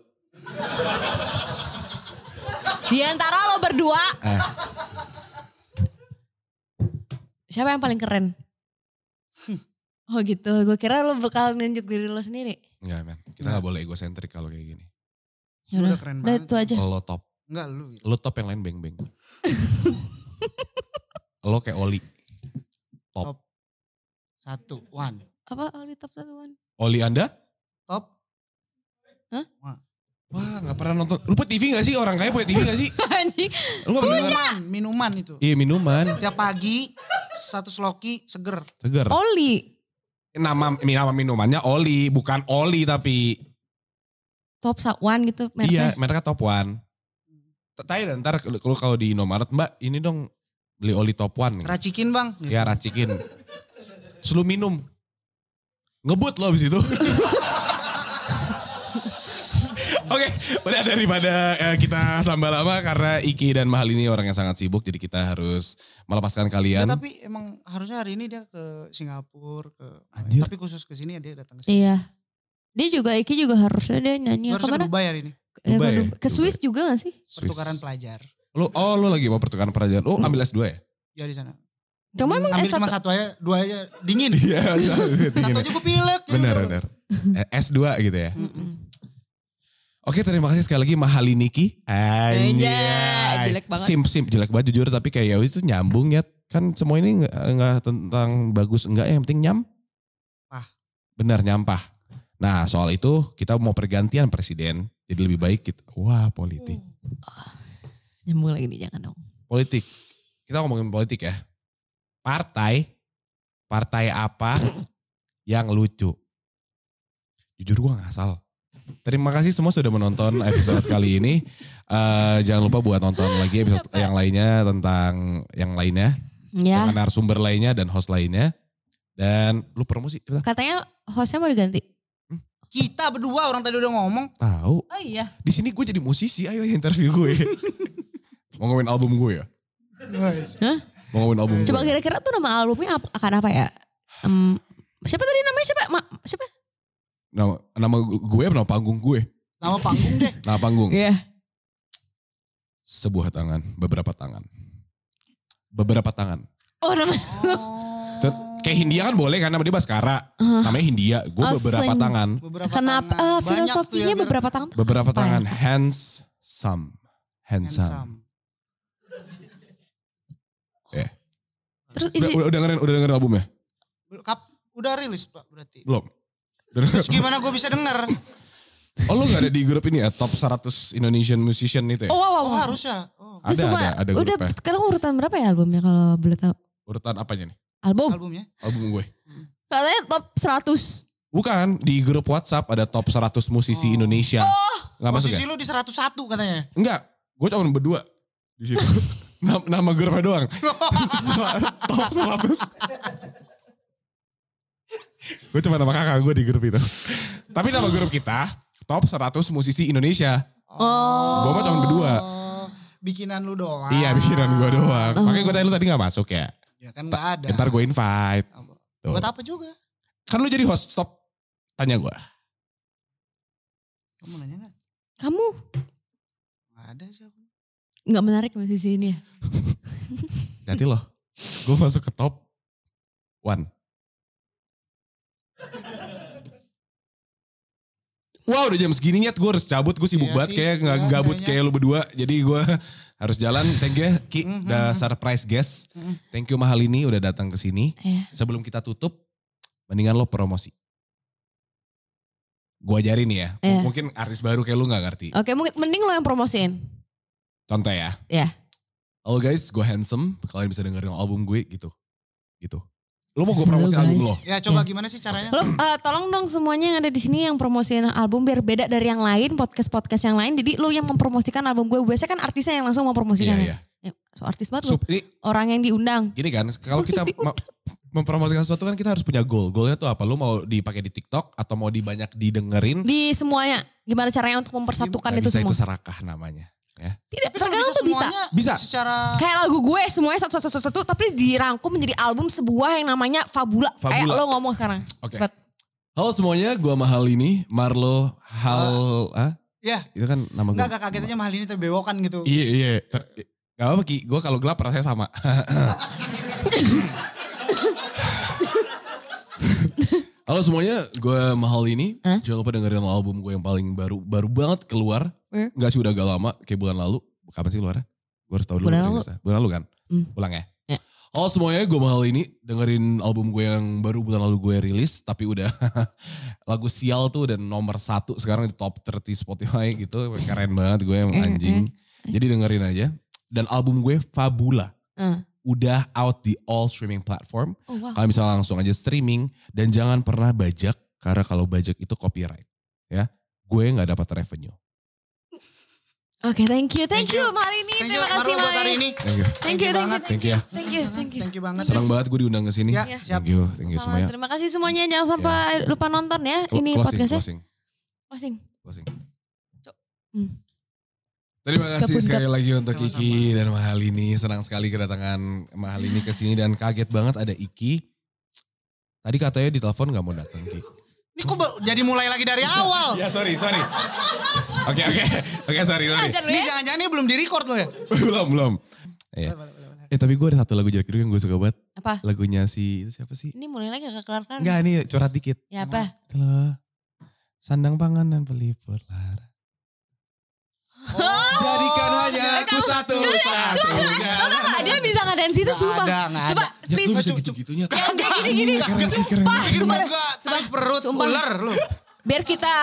[SPEAKER 3] Di antara lo berdua,
[SPEAKER 1] Eh,
[SPEAKER 3] siapa yang paling keren? Oh gitu, gue kira lo bakal nunjuk diri lo sendiri.
[SPEAKER 1] enggak Iya, men. Kita gak boleh egosentrik kalau kayak gini.
[SPEAKER 3] Ya
[SPEAKER 2] Lu
[SPEAKER 3] udah,
[SPEAKER 2] udah keren
[SPEAKER 3] udah
[SPEAKER 2] banget.
[SPEAKER 3] itu aja.
[SPEAKER 1] Lo top.
[SPEAKER 2] nggak lu Wil.
[SPEAKER 1] Lo top yang lain beng-beng. lo kayak Oli. Top.
[SPEAKER 2] Top. satu one
[SPEAKER 3] Apa Oli top satuan?
[SPEAKER 1] Oli anda?
[SPEAKER 2] top
[SPEAKER 1] Wah gak pernah nonton. Lu punya TV gak sih? Orang kaya punya TV gak sih?
[SPEAKER 3] Anjing.
[SPEAKER 1] Lu gak pernah denger?
[SPEAKER 2] minuman minuman itu
[SPEAKER 1] Iya minuman.
[SPEAKER 2] tiap pagi satu sloki seger
[SPEAKER 1] Seger.
[SPEAKER 3] Oh. Oli
[SPEAKER 1] Nama, nama minumannya Oli. Bukan Oli tapi.
[SPEAKER 3] top satuan gitu
[SPEAKER 1] Iya
[SPEAKER 3] mereknya.
[SPEAKER 1] mereka top one. Tanya dan ntar lu lu kalau di Indomaret. Mbak ini dong beli Oli top one. Nih.
[SPEAKER 2] racikin bang gitu.
[SPEAKER 1] Ya racikin. Terus lu minum. Ngebut lo abis itu. Oke, Udah daripada eh, kita tambah lama karena Iki dan Mahal ini orang yang sangat sibuk jadi kita harus melepaskan
[SPEAKER 2] Ya,
[SPEAKER 1] kalian.
[SPEAKER 2] tapi emang harusnya hari ini dia ke Singapura ke
[SPEAKER 1] Anjir.
[SPEAKER 2] tapi khusus ke sini ya dia datang ke sini.
[SPEAKER 3] Iya. Dia juga Iki juga harusnya dia nyanyi
[SPEAKER 2] Harusnya
[SPEAKER 3] Iya, kemana?
[SPEAKER 2] ke Dubai hari ini.
[SPEAKER 3] Eh,
[SPEAKER 1] Dubai
[SPEAKER 3] ke
[SPEAKER 1] ya?
[SPEAKER 3] Dubai. Ke
[SPEAKER 1] Dubai.
[SPEAKER 3] Swiss juga gak sih?
[SPEAKER 1] Swiss.
[SPEAKER 2] Pertukaran pelajar.
[SPEAKER 1] Lu oh lu lagi mau pertukaran pelajar. Lu ambil S2 ya?
[SPEAKER 2] Ya di sana.
[SPEAKER 3] Kamu emang
[SPEAKER 2] Ambil
[SPEAKER 3] S1?
[SPEAKER 2] cuma satu aja, dua aja dingin.
[SPEAKER 1] Iya.
[SPEAKER 2] satu aja gue pilek. gitu.
[SPEAKER 1] benar benar. Eh, S2 gitu ya.
[SPEAKER 2] Mm-mm.
[SPEAKER 1] Oke terima kasih sekali lagi Mahali Niki.
[SPEAKER 3] Anjay, Iya, jelek banget.
[SPEAKER 1] Simp simp jelek banget jujur tapi kayak ya itu nyambung ya. Kan semua ini nggak- nggak tentang bagus enggak yang penting nyam.
[SPEAKER 2] Pah.
[SPEAKER 1] Benar nyampah. Nah soal itu kita mau pergantian presiden. Jadi lebih baik kita. Wah politik.
[SPEAKER 3] Nyambung lagi nih jangan dong.
[SPEAKER 1] Politik. Kita ngomongin politik ya. Partai. Partai apa yang lucu? Jujur gua ngasal. Terima kasih semua sudah menonton episode kali ini. Eh, jangan lupa buat nonton lagi episode yang lainnya tentang yang lainnya.
[SPEAKER 3] Ya,
[SPEAKER 1] Dengan narasumber lainnya dan host lainnya. Dan lu promosi. Kita
[SPEAKER 3] katanya hostnya mau diganti.
[SPEAKER 2] Kita berdua orang tadi udah ngomong.
[SPEAKER 1] Tahu.
[SPEAKER 3] Oh iya.
[SPEAKER 1] Di sini gue jadi musisi. Ayo interview gue. Mau ngomongin album gue ya?
[SPEAKER 2] Guys.
[SPEAKER 1] Mau ngomongin album gue.
[SPEAKER 3] Coba kira-kira tuh nama albumnya apa- akan apa ya? Em, siapa tadi namanya siapa? Ma, siapa?
[SPEAKER 1] Nama, nama gue, nama panggung gue.
[SPEAKER 2] Nama panggung deh.
[SPEAKER 1] Nah panggung,
[SPEAKER 3] Iya.
[SPEAKER 1] sebuah tangan, beberapa tangan. Beberapa tangan.
[SPEAKER 3] Oh nama.
[SPEAKER 1] Ter- Kayak Hindia kan boleh kan nama dia Baskara.
[SPEAKER 3] Ah.
[SPEAKER 1] Namanya Hindia, gue
[SPEAKER 3] Oh,
[SPEAKER 1] beberapa
[SPEAKER 3] sen-
[SPEAKER 1] tangan.
[SPEAKER 2] Beberapa tangan.
[SPEAKER 3] Kenapa eh,
[SPEAKER 2] Banyak tuh ya
[SPEAKER 3] filosofinya
[SPEAKER 2] biar
[SPEAKER 3] beberapa tangan? tuh
[SPEAKER 1] Beberapa
[SPEAKER 3] apa ya?
[SPEAKER 1] tangan, hands, some. Handsome.
[SPEAKER 2] handsome.
[SPEAKER 3] Terus
[SPEAKER 1] Udah,
[SPEAKER 3] isi-
[SPEAKER 1] udah, udah dengerin, udah dengerin albumnya?
[SPEAKER 2] Belum- kap- Udah rilis Pak berarti.
[SPEAKER 1] Belum. Udah dengerin?
[SPEAKER 2] Terus gimana gue bisa denger?
[SPEAKER 1] Oh lu gak ada di grup ini ya, top 100 Indonesian musician itu ya?
[SPEAKER 3] Oh, wow, wow,
[SPEAKER 2] Oh
[SPEAKER 3] wow.
[SPEAKER 2] harusnya. Oh,
[SPEAKER 1] ada,
[SPEAKER 3] Terus semua-
[SPEAKER 1] ada, ada
[SPEAKER 3] udah
[SPEAKER 1] grupnya.
[SPEAKER 3] sekarang urutan berapa ya albumnya kalau boleh tahu?
[SPEAKER 1] Urutan apanya nih?
[SPEAKER 3] Album.
[SPEAKER 2] albumnya.
[SPEAKER 1] Album gue.
[SPEAKER 3] Katanya top 100.
[SPEAKER 1] Bukan, di grup WhatsApp ada top 100 musisi
[SPEAKER 2] Oh.
[SPEAKER 1] Indonesia. Gak masuk ya?
[SPEAKER 2] Posisi lu di 101 katanya.
[SPEAKER 1] Enggak, gue cuma berdua di situ. Nam- Nama grupnya doang. Top 100. gue cuma nama kakak gue di grup itu. Tapi nama grup kita, top 100 musisi Indonesia. Gua
[SPEAKER 3] Oh.
[SPEAKER 1] mah cuma berdua.
[SPEAKER 2] Oh, Bikinan lu doang.
[SPEAKER 1] Iya, pikiran gue doang. Makanya gue tanya lu tadi gak masuk ya.
[SPEAKER 2] Ya kan gak ada.
[SPEAKER 1] Ntar gue invite. Tuh.
[SPEAKER 2] Buat apa juga?
[SPEAKER 1] Kan lu jadi host, stop. Tanya gue.
[SPEAKER 2] Kamu nanya gak?
[SPEAKER 3] Kamu
[SPEAKER 2] Gak ada sih aku.
[SPEAKER 3] nggak menarik musisi ini ya?
[SPEAKER 1] Nanti loh, gue masuk ke top one. Wow udah jam segini nyet gue harus cabut gue sibuk
[SPEAKER 2] Iya
[SPEAKER 1] banget
[SPEAKER 2] sih,
[SPEAKER 1] kayak nggak
[SPEAKER 2] iya,
[SPEAKER 1] gabut
[SPEAKER 2] kayaknya.
[SPEAKER 1] kayak lu berdua jadi gue harus jalan thank you ya, Ki
[SPEAKER 2] Mhm.
[SPEAKER 1] the surprise guest
[SPEAKER 2] Mhm.
[SPEAKER 1] thank you mahal ini udah datang ke sini
[SPEAKER 3] Iya.
[SPEAKER 1] sebelum kita tutup mendingan lo promosi gue ajarin nih ya M-
[SPEAKER 3] Iya.
[SPEAKER 1] mungkin artis baru kayak lu nggak ngerti
[SPEAKER 3] Oke mungkin mending lo yang promosiin.
[SPEAKER 1] contoh ya
[SPEAKER 3] Iya.
[SPEAKER 1] halo guys gue handsome kalian bisa dengerin album gue gitu gitu lo mau gue
[SPEAKER 3] Halo,
[SPEAKER 1] promosiin album
[SPEAKER 3] guys.
[SPEAKER 1] lo
[SPEAKER 2] Ya coba
[SPEAKER 3] Ya.
[SPEAKER 2] gimana sih caranya?
[SPEAKER 3] Lo eh, tolong dong semuanya yang ada di sini yang promosiin album biar beda dari yang lain podcast podcast yang lain. Jadi lo yang mempromosikan album gue biasanya kan artisnya yang langsung mempromosikan.
[SPEAKER 1] Iya,
[SPEAKER 3] ya.
[SPEAKER 1] iya.
[SPEAKER 3] Ya, so artis banget lo.
[SPEAKER 1] Sup- ini
[SPEAKER 3] Orang yang diundang.
[SPEAKER 1] gini kan, kalau kita ma- mempromosikan sesuatu kan kita harus punya goal. Goalnya tuh apa? Lu mau dipakai di TikTok atau mau dibanyak didengerin?
[SPEAKER 3] Di semuanya. Gimana caranya untuk mempersatukan
[SPEAKER 1] Nggak
[SPEAKER 3] itu
[SPEAKER 1] Iya, bisa
[SPEAKER 3] semua.
[SPEAKER 1] itu serakah namanya. Ya.
[SPEAKER 3] Tidak,
[SPEAKER 2] Tapi kalau bisa
[SPEAKER 3] tergantung tuh bisa.
[SPEAKER 2] semuanya
[SPEAKER 1] Bisa.
[SPEAKER 2] secara
[SPEAKER 3] Kayak lagu gue semuanya satu, satu, satu, satu, tapi dirangkum menjadi album sebuah yang namanya Fabula. Kayak
[SPEAKER 1] Fabula.
[SPEAKER 3] lo ngomong sekarang.
[SPEAKER 1] Oke.
[SPEAKER 3] Cepat.
[SPEAKER 1] Halo semuanya, gua Mahal ini, Marlo Hal, ah,
[SPEAKER 2] ya
[SPEAKER 1] itu kan nama gua.
[SPEAKER 2] enggak enggak kagetnya mahal ini tapi bewokan gitu.
[SPEAKER 1] Iya, iya. Ter- Gak apa-apa Ki, gue kalau gelap rasanya sama. Halo semuanya, gue Mahal ini.
[SPEAKER 3] Hah?
[SPEAKER 1] Jangan lupa dengerin album gue yang paling baru, baru banget keluar.
[SPEAKER 3] Hmm.
[SPEAKER 1] Nggak sih udah agak lama, kayak bulan lalu. Kapan sih keluarnya? Gue harus tahu dulu.
[SPEAKER 3] Bulan lalu.
[SPEAKER 1] rilisnya. Bulan lalu kan?
[SPEAKER 3] Hmm.
[SPEAKER 1] Ulang ya?
[SPEAKER 3] Ya.
[SPEAKER 1] Halo semuanya, gue Mahal ini. Dengerin album gue yang baru bulan lalu gue rilis. Tapi udah lagu sial tuh dan nomor satu sekarang di top 30 Spotify gitu. Keren banget gue emang
[SPEAKER 3] Eh,
[SPEAKER 1] anjing. Jadi dengerin aja. Dan album gue Fabula.
[SPEAKER 3] Eh.
[SPEAKER 1] Udah out di all streaming platform.
[SPEAKER 3] Oh, wow.
[SPEAKER 1] Kalian bisa langsung aja streaming. Dan jangan pernah bajak. Karena kalau bajak itu copyright. Ya. Gue gak dapat revenue.
[SPEAKER 3] Oke, thank you,
[SPEAKER 2] Thank
[SPEAKER 3] thank, you,
[SPEAKER 2] you.
[SPEAKER 3] Malini.
[SPEAKER 2] Thank you
[SPEAKER 3] Terima kasih
[SPEAKER 2] Marlo buat hari
[SPEAKER 3] Malini.
[SPEAKER 2] ini.
[SPEAKER 1] Thank you.
[SPEAKER 3] Thank you, thank you,
[SPEAKER 1] Thank you ya.
[SPEAKER 3] thank you, thank you.
[SPEAKER 2] Thank you banget.
[SPEAKER 1] Senang banget gue diundang ke sini.
[SPEAKER 2] Ya,
[SPEAKER 3] Iya.
[SPEAKER 2] siap.
[SPEAKER 1] Thank
[SPEAKER 3] gitu.
[SPEAKER 1] you. Thank you
[SPEAKER 3] Sama,
[SPEAKER 1] semuanya. Iya.
[SPEAKER 3] terima kasih semuanya. Jangan sampai lupa nonton ya.
[SPEAKER 1] Clo-
[SPEAKER 3] Ini
[SPEAKER 1] closing,
[SPEAKER 3] podcastnya.
[SPEAKER 1] closing,
[SPEAKER 3] Closing.
[SPEAKER 1] closing.
[SPEAKER 3] Hmm.
[SPEAKER 1] Terima kasih
[SPEAKER 3] Kebun
[SPEAKER 1] sekali lagi untuk
[SPEAKER 2] Sama-sama.
[SPEAKER 1] Kiki dan Mahal ini. Senang sekali kedatangan Mahal ini ke sini dan kaget banget ada Iki. Tadi katanya di telepon gak mau datang Kiki.
[SPEAKER 2] Ini kok ba- jadi mulai lagi dari
[SPEAKER 3] Iya. Oh.
[SPEAKER 2] awal?
[SPEAKER 1] Ya sorry, sorry. Oke, oke. Oke, sorry, sorry.
[SPEAKER 4] Ajar lu
[SPEAKER 2] Ini
[SPEAKER 4] ya.
[SPEAKER 2] jangan-jangan ini belum di-record loh ya?
[SPEAKER 1] belum, belum. Iya. Eh tapi gue ada satu lagu jeruk jeruk yang gue suka banget.
[SPEAKER 3] Apa?
[SPEAKER 1] Lagunya si, itu siapa sih?
[SPEAKER 3] Ini mulai lagi gak kelar kan?
[SPEAKER 1] Enggak, ini curhat dikit.
[SPEAKER 3] Ya apa?
[SPEAKER 1] Halo. Sandang pangan dan pelipur lara.
[SPEAKER 2] Oh.
[SPEAKER 1] Jadikan hanya aku satu satunya.
[SPEAKER 3] Nah, dia bisa ngadain situ
[SPEAKER 2] Nggak
[SPEAKER 3] sumpah.
[SPEAKER 2] ada, nggak ada.
[SPEAKER 3] Coba
[SPEAKER 1] Ya gue
[SPEAKER 3] please. Ya,
[SPEAKER 1] bisa gitu-gitunya.
[SPEAKER 3] Yang kayak gini-gini.
[SPEAKER 1] Keren, keren.
[SPEAKER 3] Sumpah,
[SPEAKER 2] Sumpah,
[SPEAKER 3] sumpah.
[SPEAKER 2] juga tarik perut
[SPEAKER 3] Sumpah. Iya,
[SPEAKER 2] ular lu.
[SPEAKER 3] Biar kita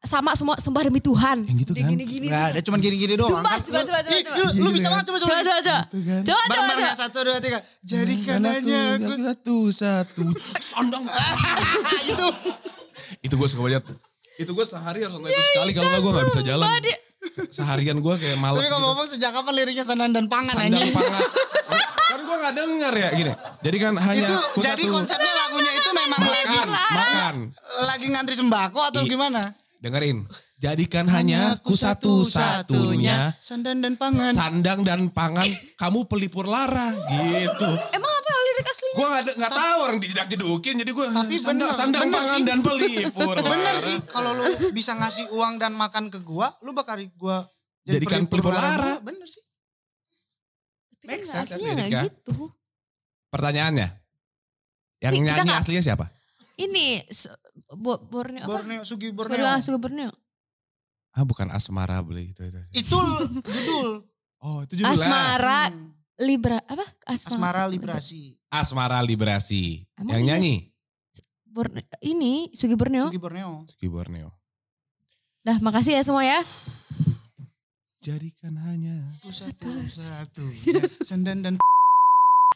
[SPEAKER 3] sama semua sumpah demi Tuhan.
[SPEAKER 1] Yang gitu
[SPEAKER 3] Dia
[SPEAKER 1] kan?
[SPEAKER 3] Gini-gini.
[SPEAKER 2] Enggak ada cuman gini-gini doang.
[SPEAKER 3] Sumpah,
[SPEAKER 2] kan?
[SPEAKER 3] coba,
[SPEAKER 2] Lu-
[SPEAKER 3] coba, coba,
[SPEAKER 2] Ih,
[SPEAKER 3] coba.
[SPEAKER 2] Lu, lu
[SPEAKER 1] Iya,
[SPEAKER 2] bisa
[SPEAKER 1] kan?
[SPEAKER 2] banget coba coba.
[SPEAKER 3] Coba, coba, coba.
[SPEAKER 1] Gitu kan?
[SPEAKER 3] Coba, coba,
[SPEAKER 2] Bareng-bareng
[SPEAKER 3] coba.
[SPEAKER 2] ya, satu dua tiga. Jadikan hanya aku.
[SPEAKER 1] satu satu sandang.
[SPEAKER 2] Ah, itu.
[SPEAKER 1] itu gue suka banget. Itu gue sehari harus nonton itu sekali kalau nggak gue nggak bisa jalan. Seharian gue kayak males
[SPEAKER 2] Tapi
[SPEAKER 1] gitu.
[SPEAKER 2] ngomong sejak kapan liriknya sandan dan pangan
[SPEAKER 1] Sandang
[SPEAKER 2] anjing.
[SPEAKER 1] pangan. Kan gue nggak denger ya gini. Jadi kan
[SPEAKER 3] iya.
[SPEAKER 1] hanya
[SPEAKER 2] Itu
[SPEAKER 1] aku
[SPEAKER 2] jadi
[SPEAKER 1] satu.
[SPEAKER 2] konsepnya lagunya itu memang lagi
[SPEAKER 1] makan, makan.
[SPEAKER 2] lagi ngantri sembako atau
[SPEAKER 3] Iya.
[SPEAKER 1] I-
[SPEAKER 2] gimana?
[SPEAKER 1] Dengerin. Jadikan hanya ku satu satunya
[SPEAKER 2] sandan dan pangan.
[SPEAKER 1] sandang dan pangan kamu pelipur lara gitu.
[SPEAKER 3] Emang apa lirik aslinya?
[SPEAKER 1] Gue nggak ada- nggak tahu orang dijedak jedukin jadi gue
[SPEAKER 2] Tapi
[SPEAKER 1] sandang,
[SPEAKER 2] bener,
[SPEAKER 1] sandang
[SPEAKER 2] bener
[SPEAKER 1] pangan
[SPEAKER 2] sih.
[SPEAKER 1] dan pelipur.
[SPEAKER 2] Bener
[SPEAKER 1] lara.
[SPEAKER 2] sih kalau lu bisa ngasih uang dan makan ke gua, lu bakal gua
[SPEAKER 1] Jadikan pelipur lara.
[SPEAKER 2] gua. Bener sih.
[SPEAKER 3] Tapi
[SPEAKER 1] Make
[SPEAKER 3] kan
[SPEAKER 1] sense kan
[SPEAKER 3] aslinya gak
[SPEAKER 2] ya?
[SPEAKER 1] liriknya?
[SPEAKER 3] gitu.
[SPEAKER 1] Pertanyaannya, yang
[SPEAKER 3] Nih, kita
[SPEAKER 1] nyanyi
[SPEAKER 3] nggak-
[SPEAKER 1] aslinya siapa?
[SPEAKER 3] Ini su- Bo- Borneo apa?
[SPEAKER 2] Borneo Sugi Borneo.
[SPEAKER 3] Borneo. Suka Borneo.
[SPEAKER 1] Ah bukan Asmara beli gitu, itu itu.
[SPEAKER 2] Itu judul.
[SPEAKER 1] Oh itu
[SPEAKER 3] Asmara
[SPEAKER 2] Hmm.
[SPEAKER 3] Libra apa? Ah,
[SPEAKER 2] Asmara Librasi.
[SPEAKER 1] Asmara Liberasi. yang
[SPEAKER 3] Emang iya?
[SPEAKER 1] nyanyi
[SPEAKER 3] Borneo. Ini Sugi Borneo.
[SPEAKER 2] Sugi Borneo.
[SPEAKER 1] Suki Borneo.
[SPEAKER 3] Dah makasih ya semua ya.
[SPEAKER 1] Jadikan hanya.
[SPEAKER 2] Satu satu. Sandan dan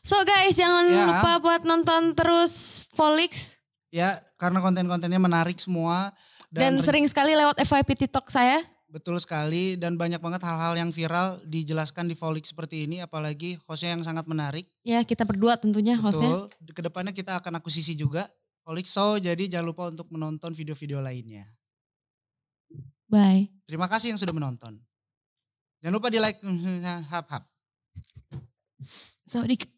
[SPEAKER 3] So guys jangan
[SPEAKER 2] Ya.
[SPEAKER 3] lupa buat nonton terus Volix.
[SPEAKER 2] ya karena konten-kontennya menarik semua
[SPEAKER 3] Dan, sering sekali lewat FYP TikTok saya.
[SPEAKER 2] betul sekali dan banyak banget hal-hal yang viral dijelaskan di Volix seperti ini apalagi hostnya yang sangat menarik
[SPEAKER 3] Ya kita berdua tentunya hostnya.
[SPEAKER 2] betul kedepannya kita akan akuisisi juga Volix Show jadi jangan lupa untuk menonton video-video lainnya
[SPEAKER 3] Bye.
[SPEAKER 2] terima kasih yang sudah menonton jangan lupa di like hap hap
[SPEAKER 3] Saudi.